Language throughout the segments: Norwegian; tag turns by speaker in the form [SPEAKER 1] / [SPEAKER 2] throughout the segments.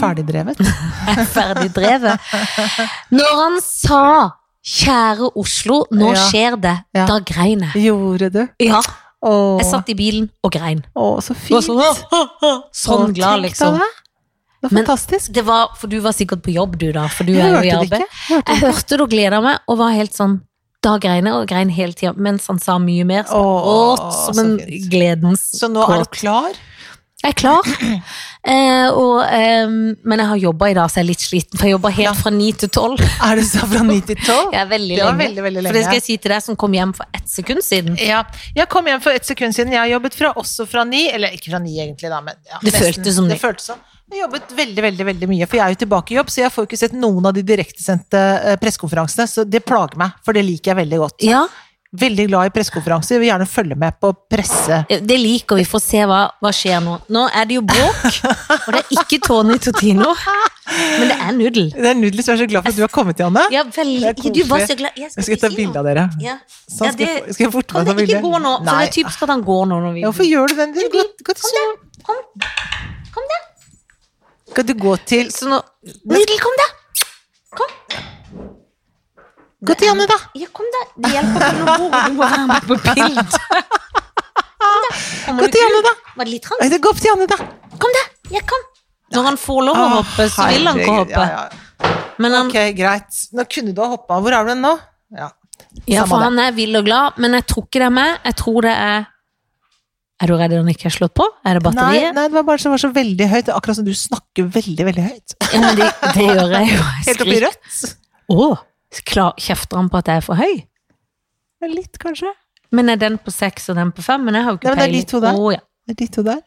[SPEAKER 1] Ferdigdrevet.
[SPEAKER 2] er ferdig drevet. Når han sa 'Kjære Oslo, nå
[SPEAKER 1] Ja.
[SPEAKER 2] skjer det',
[SPEAKER 1] Ja.
[SPEAKER 2] da grein jeg.
[SPEAKER 1] Gjorde du?
[SPEAKER 2] Ja,
[SPEAKER 1] Å,
[SPEAKER 2] jeg satt i bilen og grein.
[SPEAKER 1] å så
[SPEAKER 2] Det var
[SPEAKER 1] fint.
[SPEAKER 2] Sånn, sånn
[SPEAKER 1] Å,
[SPEAKER 2] glad,
[SPEAKER 1] tenk deg
[SPEAKER 2] liksom.
[SPEAKER 1] Det Det var
[SPEAKER 2] Men-
[SPEAKER 1] fantastisk.
[SPEAKER 2] Det var, for du var sikkert på jobb, du da, for du
[SPEAKER 1] Jeg
[SPEAKER 2] er jo i
[SPEAKER 1] hørte det
[SPEAKER 2] arbeid.
[SPEAKER 1] ikke. Jeg hørte
[SPEAKER 2] Jeg hørte det og gleda meg, og var helt sånn Da grein jeg, og grein hele tida, mens han sa mye mer. Så
[SPEAKER 1] Åh,
[SPEAKER 2] gråt
[SPEAKER 1] så
[SPEAKER 2] som en
[SPEAKER 1] fint.
[SPEAKER 2] gledens
[SPEAKER 1] Så nå er du
[SPEAKER 2] gråt.
[SPEAKER 1] klar?
[SPEAKER 2] Jeg er klar, eh, og, eh, men jeg har jobba i dag, så jeg er litt sliten. For jeg jobba helt fra ni til tolv.
[SPEAKER 1] Er det så fra 9 til 12?
[SPEAKER 2] Jeg er veldig
[SPEAKER 1] Det var
[SPEAKER 2] lenge.
[SPEAKER 1] veldig, veldig
[SPEAKER 2] For det
[SPEAKER 1] lenge.
[SPEAKER 2] skal jeg si til deg som kom hjem for ett sekund siden.
[SPEAKER 1] Ja. Jeg kom hjem for et sekund siden. Jeg har jobbet fra, også fra 9, eller ikke fra 9 egentlig, da, men ja,
[SPEAKER 2] Det føltes som ni.
[SPEAKER 1] det føltes sånn. Jeg har jobbet veldig, veldig veldig mye, for jeg er jo tilbake i jobb, så jeg får jo ikke sett noen av de direktesendte eh, pressekonferansene, så det plager meg, for det liker jeg veldig godt.
[SPEAKER 2] Ja,
[SPEAKER 1] Veldig glad i pressekonferanser, vil gjerne følge med på presse...
[SPEAKER 2] det liker vi. Får se hva, hva skjer nå. Nå er det jo bråk, og det er ikke Tony Totino, men det er Nudel.
[SPEAKER 1] Det er Nudel som er så glad for at du har kommet, Janne.
[SPEAKER 2] Ja, veldig.
[SPEAKER 1] Det er
[SPEAKER 2] Du var
[SPEAKER 1] koselig.
[SPEAKER 2] så glad. Jeg
[SPEAKER 1] Jeg skal ta bilde av dere.
[SPEAKER 2] Ja.
[SPEAKER 1] Sånn,
[SPEAKER 2] Ja,
[SPEAKER 1] skal,
[SPEAKER 2] det-
[SPEAKER 1] jeg- skal jeg forte
[SPEAKER 2] Kan
[SPEAKER 1] meg å ta
[SPEAKER 2] det
[SPEAKER 1] bilde?
[SPEAKER 2] ikke gå nå? For
[SPEAKER 1] Nei.
[SPEAKER 2] det er typisk at han går nå når vi
[SPEAKER 1] Ja, Hvorfor gjør du den? Du, gå, gå til siden.
[SPEAKER 2] Kom, kom der.
[SPEAKER 1] Skal du gå til
[SPEAKER 2] Så nå Nudel, kom der! Kom.
[SPEAKER 1] Gå til Janne, da!
[SPEAKER 2] Ja, kom der. Det hjelper ikke noe hvor du må være med på bildet. Kom der. Kommer
[SPEAKER 1] Gå
[SPEAKER 2] du
[SPEAKER 1] til
[SPEAKER 2] ikke
[SPEAKER 1] Janne,
[SPEAKER 2] ut?
[SPEAKER 1] da!
[SPEAKER 2] Var det litt
[SPEAKER 1] Nei,
[SPEAKER 2] trangt?
[SPEAKER 1] du, Gå opp til Janne, da!
[SPEAKER 2] Kom der. Ja, kom. Når han får lov å
[SPEAKER 1] Å,
[SPEAKER 2] hoppe, så vil han ikke
[SPEAKER 1] herregud.
[SPEAKER 2] hoppe.
[SPEAKER 1] Ja, ja.
[SPEAKER 2] Men han,
[SPEAKER 1] Ok, greit. Nå kunne du ha hoppa. Hvor er du nå? Ja.
[SPEAKER 2] ja,
[SPEAKER 1] samme
[SPEAKER 2] for
[SPEAKER 1] det.
[SPEAKER 2] han er vill og glad, men jeg tror ikke det er meg. Jeg tror det er Er du redd han ikke er slått på? Er det
[SPEAKER 1] Nei,
[SPEAKER 2] batteriet?
[SPEAKER 1] nei, det var bare så, var så veldig høyt. Det er Akkurat som du snakker veldig, veldig høyt.
[SPEAKER 2] Ja, men det, det gjør jeg jo. Jeg
[SPEAKER 1] Helt oppi
[SPEAKER 2] skriker.
[SPEAKER 1] rødt.
[SPEAKER 2] Å, klar- kjefter han på at jeg er for høy?
[SPEAKER 1] Men Litt, kanskje.
[SPEAKER 2] Men er den på seks og den på fem? Men jeg har jo ikke
[SPEAKER 1] Nei, men det er de to der.
[SPEAKER 2] Å, ja.
[SPEAKER 1] Det er de to der.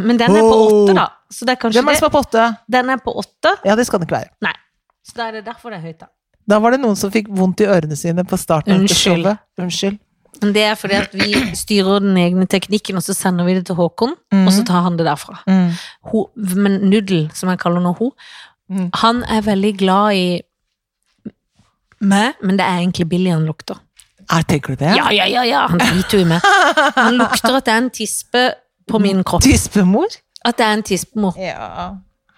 [SPEAKER 2] Men den er på
[SPEAKER 1] Oh.
[SPEAKER 2] åtte, da. Så det er kanskje
[SPEAKER 1] Hvem er det
[SPEAKER 2] det.
[SPEAKER 1] som er på åtte?
[SPEAKER 2] Den er på åtte.
[SPEAKER 1] Ja, det skal det ikke være.
[SPEAKER 2] Nei. Så da er det derfor det er høyt, da.
[SPEAKER 1] Da var det noen som fikk vondt i ørene sine på starten av dette
[SPEAKER 2] Unnskyld.
[SPEAKER 1] showet. Unnskyld.
[SPEAKER 2] Men det er fordi at vi styrer den egne teknikken, og så sender vi det til Håkon,
[SPEAKER 1] Mhm.
[SPEAKER 2] og så tar han det derfra.
[SPEAKER 1] Mm.
[SPEAKER 2] Ho, men Nudel, som jeg kaller nå ho,
[SPEAKER 1] Mhm.
[SPEAKER 2] han er veldig glad i meg, men det er egentlig Billy han lukter.
[SPEAKER 1] Er, tenker du det?
[SPEAKER 2] Ja, ja, ja, ja, han driter jo i meg. Han lukter at det er en tispe på min kropp.
[SPEAKER 1] Tispemor?
[SPEAKER 2] At det er en tispemor.
[SPEAKER 1] Ja.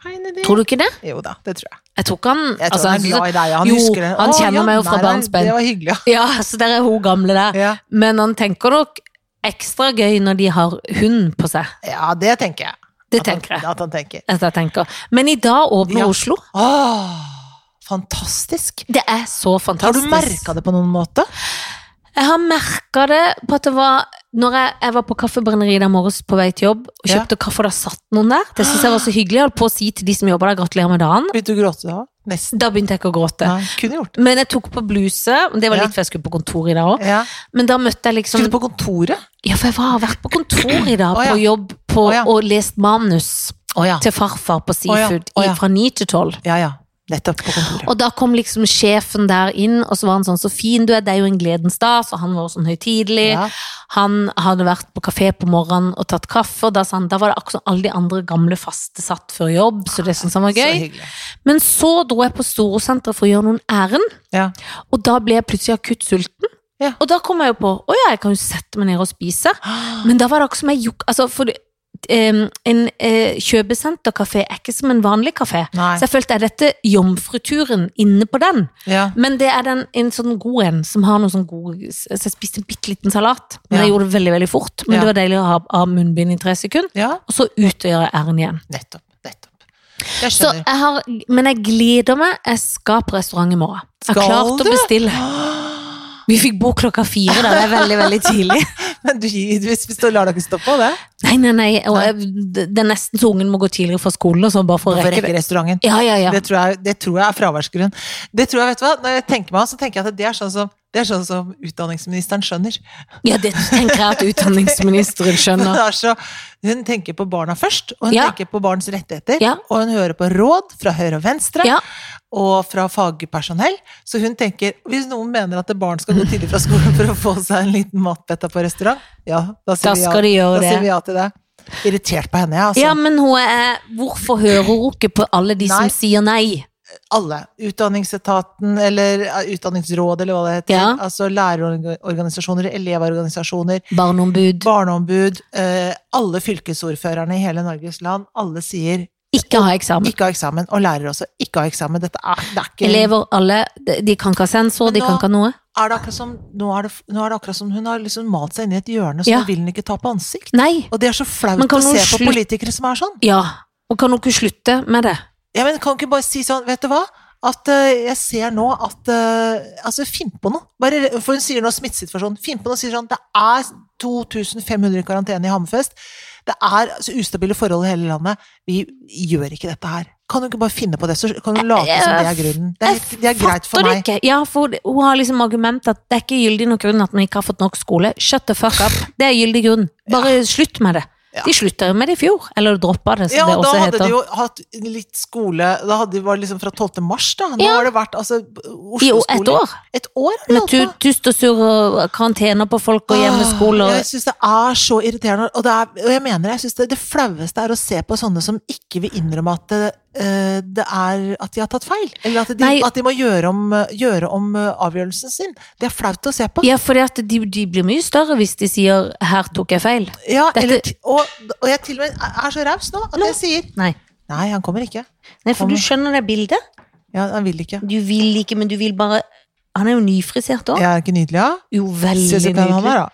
[SPEAKER 1] Hei, Nedi.
[SPEAKER 2] Tror du ikke det?
[SPEAKER 1] Jo da, det tror jeg.
[SPEAKER 2] Jeg tror ikke han
[SPEAKER 1] Jeg tror
[SPEAKER 2] altså,
[SPEAKER 1] han er glad i deg. Han
[SPEAKER 2] jo,
[SPEAKER 1] husker det.
[SPEAKER 2] han
[SPEAKER 1] Å,
[SPEAKER 2] kjenner meg jo
[SPEAKER 1] Janne,
[SPEAKER 2] fra
[SPEAKER 1] nei, nei,
[SPEAKER 2] barnsben.
[SPEAKER 1] Det var hyggelig,
[SPEAKER 2] Ja, så der er hun gamle der.
[SPEAKER 1] ja.
[SPEAKER 2] Men han tenker nok ekstra gøy når de har hund på seg.
[SPEAKER 1] Ja, det tenker jeg.
[SPEAKER 2] Det
[SPEAKER 1] At han-
[SPEAKER 2] tenker jeg.
[SPEAKER 1] At han tenker.
[SPEAKER 2] at jeg tenker. Men i dag åpner
[SPEAKER 1] Ja.
[SPEAKER 2] Oslo.
[SPEAKER 1] Åh, fantastisk.
[SPEAKER 2] Det er
[SPEAKER 1] Har
[SPEAKER 2] så
[SPEAKER 1] du
[SPEAKER 2] fantastisk.
[SPEAKER 1] merka det på noen måte?
[SPEAKER 2] Jeg har merka det på at det var Når jeg, jeg var på Kaffebrenneriet der morges på vei til jobb og
[SPEAKER 1] Ja.
[SPEAKER 2] kjøpte kaffe, og da satt noen der. Det synes jeg var så hyggelig. Jeg holdt på å si til de som jobber der, gratulerer med dagen.
[SPEAKER 1] Begynte du å gråte da? Nesten.
[SPEAKER 2] Da begynte jeg ikke å gråte.
[SPEAKER 1] Nei, kunne gjort det.
[SPEAKER 2] Men jeg tok på bluse. Det var
[SPEAKER 1] Ja.
[SPEAKER 2] litt før jeg skulle på kontoret i dag òg.
[SPEAKER 1] Ja.
[SPEAKER 2] Men da møtte jeg liksom
[SPEAKER 1] Skulle du på kontoret?
[SPEAKER 2] Ja, for jeg var, har vært på kontor i dag,
[SPEAKER 1] Å, ja.
[SPEAKER 2] på jobb, på,
[SPEAKER 1] Å, ja.
[SPEAKER 2] og lest manus
[SPEAKER 1] Å ja.
[SPEAKER 2] til farfar på
[SPEAKER 1] ja.
[SPEAKER 2] Seafood
[SPEAKER 1] Å, ja.
[SPEAKER 2] i- fra ni til tolv.
[SPEAKER 1] Ja, ja. Nettopp på kontoret.
[SPEAKER 2] Og da kom liksom sjefen der inn, og så var han sånn, så fin du er, det er jo en gledens dag, så han var sånn høytidelig.
[SPEAKER 1] Ja.
[SPEAKER 2] Han hadde vært på kafé på morgenen og tatt kaffe, og da, sa han, da var det akkurat som alle de andre gamle faste satt før jobb, så det syntes han var
[SPEAKER 1] Ah, Så
[SPEAKER 2] gøy.
[SPEAKER 1] hyggelig.
[SPEAKER 2] Men så dro jeg på Storosenteret for å gjøre noen ærend,
[SPEAKER 1] Ja.
[SPEAKER 2] og da ble jeg plutselig akutt sulten.
[SPEAKER 1] Ja.
[SPEAKER 2] Og da kom jeg jo på, åja, jeg kan jo sette meg ned og spise. Men da var det akkurat som jeg juk... Altså, for em, en eh, kjøpesenterkafé er ikke som en vanlig kafé.
[SPEAKER 1] Nei.
[SPEAKER 2] Så jeg følte, er dette jomfruturen inne på den?
[SPEAKER 1] Ja.
[SPEAKER 2] Men det er den, en sånn god en som har noe sånn god Så jeg spiste en bitte liten salat, men
[SPEAKER 1] Ja.
[SPEAKER 2] jeg gjorde det veldig veldig fort. Men
[SPEAKER 1] Ja.
[SPEAKER 2] det var deilig å ha, ha munnbind i tre sekunder,
[SPEAKER 1] ja.
[SPEAKER 2] og så ut og gjøre ærend igjen.
[SPEAKER 1] Nettopp. Nettopp. Jeg
[SPEAKER 2] Så
[SPEAKER 1] skjønner.
[SPEAKER 2] jeg har, men jeg gleder meg. Jeg skal på restaurant i morgen. Jeg har
[SPEAKER 1] Skal
[SPEAKER 2] klart å
[SPEAKER 1] du?
[SPEAKER 2] bestille. Vi fikk bok klokka fire, da. Det er veldig, veldig tidlig.
[SPEAKER 1] Men du, du spiste og lar dere stå på det?
[SPEAKER 2] Nei, nei, nei. Og jeg, det er nesten så ungen må gå tidligere fra skolen og sånn, bare for å
[SPEAKER 1] Hvorfor
[SPEAKER 2] rekke det.
[SPEAKER 1] rekke restauranten?
[SPEAKER 2] Ja, ja, ja.
[SPEAKER 1] Det tror, jeg, det tror jeg er fraværsgrunn. Det tror jeg, vet du hva? Når jeg tenker meg om, så tenker jeg at det er sånn som, det er sånn som utdanningsministeren skjønner.
[SPEAKER 2] Ja, det tenker jeg at utdanningsministeren
[SPEAKER 1] Hun,
[SPEAKER 2] skjønner.
[SPEAKER 1] er så, hun tenker på barna først, og hun
[SPEAKER 2] Ja.
[SPEAKER 1] tenker på barns rettigheter.
[SPEAKER 2] Ja.
[SPEAKER 1] Og hun hører på råd fra høyre og venstre,
[SPEAKER 2] Ja.
[SPEAKER 1] og fra fagpersonell. Så hun tenker hvis noen mener at et barn skal gå tidlig fra skolen for å få seg en liten matbetta på restaurant, ja, da sier,
[SPEAKER 2] Da
[SPEAKER 1] vi,
[SPEAKER 2] skal de
[SPEAKER 1] ja,
[SPEAKER 2] gjøre
[SPEAKER 1] da sier
[SPEAKER 2] det.
[SPEAKER 1] vi ja til det. Irritert på henne, ja. Altså.
[SPEAKER 2] Ja, men hun er Hvorfor hører hun ikke på alle de
[SPEAKER 1] Nei.
[SPEAKER 2] som sier nei?
[SPEAKER 1] alle. Utdanningsetaten, eller eh, Utdanningsrådet, eller hva det heter.
[SPEAKER 2] Ja.
[SPEAKER 1] Altså lærerorganisasjoner, elevorganisasjoner,
[SPEAKER 2] Barneombud.
[SPEAKER 1] barneombud. Eh, alle fylkesordførerne i hele Norges land. Alle sier
[SPEAKER 2] ikke ha eksamen.
[SPEAKER 1] Ikke ha eksamen, og lærere også. Ikke ha eksamen. Dette er, det er ikke
[SPEAKER 2] Elever, alle, de de kan ikke ha sensor, de
[SPEAKER 1] Nå-
[SPEAKER 2] kan ikke ha noe.
[SPEAKER 1] Er det akkurat som, nå, er det, nå er det akkurat som hun har liksom malt seg inn i et hjørne, så
[SPEAKER 2] Ja.
[SPEAKER 1] nå vil hun ikke ta på ansikt.
[SPEAKER 2] Nei.
[SPEAKER 1] Og det er så flaut
[SPEAKER 2] Men kan
[SPEAKER 1] å se
[SPEAKER 2] hun
[SPEAKER 1] på
[SPEAKER 2] slutt-
[SPEAKER 1] politikere som er sånn.
[SPEAKER 2] Ja. Og kan dere slutte med det?
[SPEAKER 1] Ja, men kan ikke bare si sånn, vet du hva? At eh, jeg ser nå at eh, Altså, finn på noe. Bare, for hun sier nå smittesituasjonen. Finn på noe og sier sånn Det er 2500 i karantene i Hammerfest. Det er altså, ustabile forhold i hele landet. Vi gjør ikke dette her. Kan du ikke bare finne på det, så kan du late som det er grunnen? Det er, det er greit for
[SPEAKER 2] Fatter du
[SPEAKER 1] meg.
[SPEAKER 2] ikke? Ja, for hun har liksom argument at det er ikke gyldig nok grunn at vi ikke har fått nok skole. Shut the fuck up. Det er gyldig grunn. Bare slutt med det.
[SPEAKER 1] Ja.
[SPEAKER 2] De slutta jo med det i fjor. Eller droppa det, som
[SPEAKER 1] Ja,
[SPEAKER 2] det
[SPEAKER 1] da
[SPEAKER 2] også
[SPEAKER 1] hadde
[SPEAKER 2] heter.
[SPEAKER 1] de jo hatt litt skole Da hadde de var det liksom fra 12. mars, da. Nå
[SPEAKER 2] Ja.
[SPEAKER 1] har det vært altså
[SPEAKER 2] I
[SPEAKER 1] Oslo-skole
[SPEAKER 2] o- et år.
[SPEAKER 1] Et år har de
[SPEAKER 2] Med
[SPEAKER 1] holdt på.
[SPEAKER 2] tu- tust og surr og karantener på folk og hjemmeskole
[SPEAKER 1] Åh,
[SPEAKER 2] og
[SPEAKER 1] Ah, Jeg syns det er så irriterende, og, det er, og jeg mener det, jeg synes det, det flaueste er å se på sånne som ikke vil innrømme at det, eh, det er at de har tatt feil. Eller at de,
[SPEAKER 2] Nei.
[SPEAKER 1] at de må gjøre om, gjøre om eh, avgjørelsen sin. Det er flaut å se på.
[SPEAKER 2] Ja, for de, de blir mye større hvis de sier 'her tok jeg feil'.
[SPEAKER 1] Ja,
[SPEAKER 2] Dette-
[SPEAKER 1] eller, og, og jeg til og med er så raus nå at
[SPEAKER 2] Nå.
[SPEAKER 1] jeg sier
[SPEAKER 2] Nei.
[SPEAKER 1] Nei, han kommer ikke.
[SPEAKER 2] Nei, for du skjønner det bildet.
[SPEAKER 1] Ja, han vil ikke.
[SPEAKER 2] Du vil ikke, men du vil bare Han er jo nyfrisert òg.
[SPEAKER 1] Jeg er ikke nydelig, ja?
[SPEAKER 2] Jo, veldig
[SPEAKER 1] Syns du
[SPEAKER 2] nydelig.
[SPEAKER 1] pen han er, da?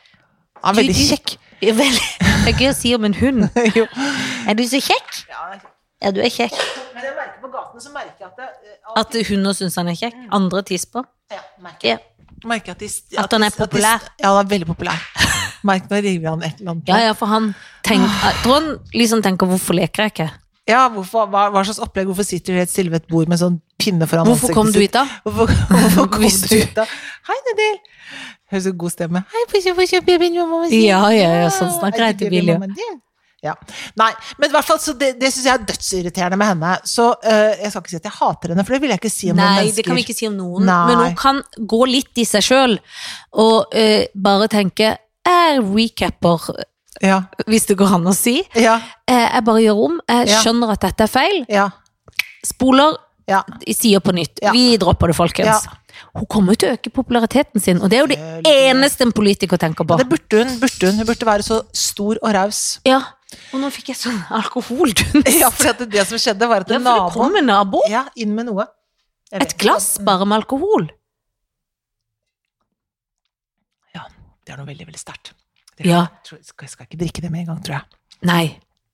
[SPEAKER 1] Han er
[SPEAKER 2] Du-
[SPEAKER 1] veldig
[SPEAKER 2] du-
[SPEAKER 1] kjekk.
[SPEAKER 2] Ja, veldig. Det er gøy å si om en hund.
[SPEAKER 1] Jo.
[SPEAKER 2] Er du så kjekk? Ja, du er kjekk.
[SPEAKER 1] Men jeg merker på gatene så merker jeg at det, eh,
[SPEAKER 2] At hunder syns han er kjekk. Andre tisper. Ja.
[SPEAKER 1] Merker at, de,
[SPEAKER 2] At han er
[SPEAKER 1] de-
[SPEAKER 2] populær.
[SPEAKER 1] ja, han er veldig populær. Merk nå river han et eller annet.
[SPEAKER 2] ja, ja, for han tenker Jeg tror han liksom tenker 'hvorfor leker jeg ikke'?
[SPEAKER 1] Ja, hvorfor, hva, hva slags opplegg? Hvorfor sitter du ved et silvet bord med sånn pinne foran
[SPEAKER 2] Hvorfor kom du hit, da?
[SPEAKER 1] Hvorfor, hvorfor kom
[SPEAKER 2] Hvis
[SPEAKER 1] du
[SPEAKER 2] du-
[SPEAKER 1] hit da? Hei, Nadel! Høres ut god stemme. Hei, pusje, pusje, babyen, mamma må si. Ah,
[SPEAKER 2] Ja, ja, ja, sånn snakker
[SPEAKER 1] er
[SPEAKER 2] jeg til
[SPEAKER 1] babyen
[SPEAKER 2] Billy.
[SPEAKER 1] mammaen din? Ja. Nei, men i hvert fall, så det, det syns jeg er dødsirriterende med henne. Så eh, jeg skal ikke si at jeg hater henne, for det vil jeg ikke si om noen
[SPEAKER 2] Nei,
[SPEAKER 1] mennesker.
[SPEAKER 2] det kan vi ikke si om noen.
[SPEAKER 1] Nei.
[SPEAKER 2] Men hun kan gå litt i seg sjøl og eh, bare tenke 'jeg recapper',
[SPEAKER 1] Ja,
[SPEAKER 2] hvis det går an å si.
[SPEAKER 1] ja,
[SPEAKER 2] Eh, jeg bare gjør om. Jeg
[SPEAKER 1] Ja.
[SPEAKER 2] skjønner at dette er feil.
[SPEAKER 1] ja.
[SPEAKER 2] Spoler,
[SPEAKER 1] ja.
[SPEAKER 2] sier på nytt.
[SPEAKER 1] Ja.
[SPEAKER 2] Vi dropper det, folkens. Hun kommer jo til å øke populariteten sin, og det er jo det
[SPEAKER 1] Selvfølgelig.
[SPEAKER 2] eneste en politiker tenker på.
[SPEAKER 1] Det burde hun, burde hun. Hun burde være så stor og raus.
[SPEAKER 2] Ja, og nå fikk jeg sånn alkoholdunst.
[SPEAKER 1] Ja, for det, det som skjedde, var at
[SPEAKER 2] Ja, for det
[SPEAKER 1] naboen
[SPEAKER 2] kom en nabo.
[SPEAKER 1] Ja, inn med noe. Jeg
[SPEAKER 2] Et
[SPEAKER 1] vet ikke
[SPEAKER 2] glass bare med alkohol.
[SPEAKER 1] hva- Det er noe veldig, veldig sterkt. Det-
[SPEAKER 2] Ja.
[SPEAKER 1] Jeg tror- skal- Jeg skal ikke drikke det med en gang, tror jeg.
[SPEAKER 2] Nei.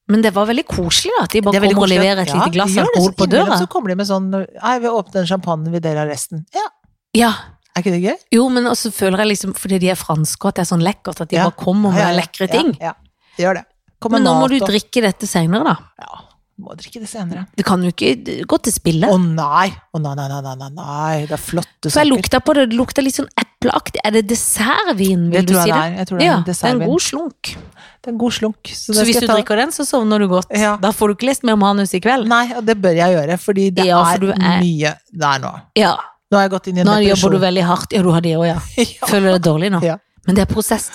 [SPEAKER 2] Men det var veldig koselig da, at de
[SPEAKER 1] Det
[SPEAKER 2] bare
[SPEAKER 1] er veldig
[SPEAKER 2] kommer og
[SPEAKER 1] koselig at-
[SPEAKER 2] leverer et
[SPEAKER 1] Ja,
[SPEAKER 2] lite glass
[SPEAKER 1] de gjør det,
[SPEAKER 2] alkohol
[SPEAKER 1] så
[SPEAKER 2] på
[SPEAKER 1] innimellom
[SPEAKER 2] døra.
[SPEAKER 1] Så kommer de med sånn Hei, vi åpner den champagnen, vi deler resten. Ja,
[SPEAKER 2] Ja,
[SPEAKER 1] Er ikke det gøy?
[SPEAKER 2] jo, men også føler jeg liksom, fordi de er franske, og at det er sånn lekkert, at de
[SPEAKER 1] Ja.
[SPEAKER 2] bare kommer med
[SPEAKER 1] Ja, ja,
[SPEAKER 2] lekre ting.
[SPEAKER 1] Ja, ja. Det gjør det. Kommer
[SPEAKER 2] Men nå må
[SPEAKER 1] mat
[SPEAKER 2] du
[SPEAKER 1] og-
[SPEAKER 2] drikke dette senere da.
[SPEAKER 1] Ja, du må drikke det senere.
[SPEAKER 2] Du kan jo ikke gå til spille.
[SPEAKER 1] Å nei! Å nei, nei, nei, nei, nei, nei. Det er flotte
[SPEAKER 2] For jeg
[SPEAKER 1] saker.
[SPEAKER 2] lukta på det, det lukta litt sånn epleaktig. Er det dessertvin, vil
[SPEAKER 1] Det
[SPEAKER 2] du
[SPEAKER 1] tror jeg
[SPEAKER 2] si
[SPEAKER 1] det
[SPEAKER 2] det?
[SPEAKER 1] er. Jeg tror det er
[SPEAKER 2] ja,
[SPEAKER 1] en
[SPEAKER 2] det er en
[SPEAKER 1] dessertvin.
[SPEAKER 2] god slunk.
[SPEAKER 1] Det er en god slunk. Så,
[SPEAKER 2] Så
[SPEAKER 1] det
[SPEAKER 2] hvis
[SPEAKER 1] skal jeg
[SPEAKER 2] du
[SPEAKER 1] ta-
[SPEAKER 2] drikker den, så sovner du godt.
[SPEAKER 1] Ja.
[SPEAKER 2] Da får du ikke lest mer manus i kveld.
[SPEAKER 1] Nei, og det bør jeg gjøre, fordi det
[SPEAKER 2] Ja, for
[SPEAKER 1] er,
[SPEAKER 2] du er-
[SPEAKER 1] mye der nå.
[SPEAKER 2] Ja,
[SPEAKER 1] Nå har jeg gått inn i en
[SPEAKER 2] Nå jobber du
[SPEAKER 1] depresjon.
[SPEAKER 2] veldig hardt. Ja, du har det òg, ja.
[SPEAKER 1] Ja.
[SPEAKER 2] Føler deg dårlig nå.
[SPEAKER 1] Ja.
[SPEAKER 2] Men det er prosess.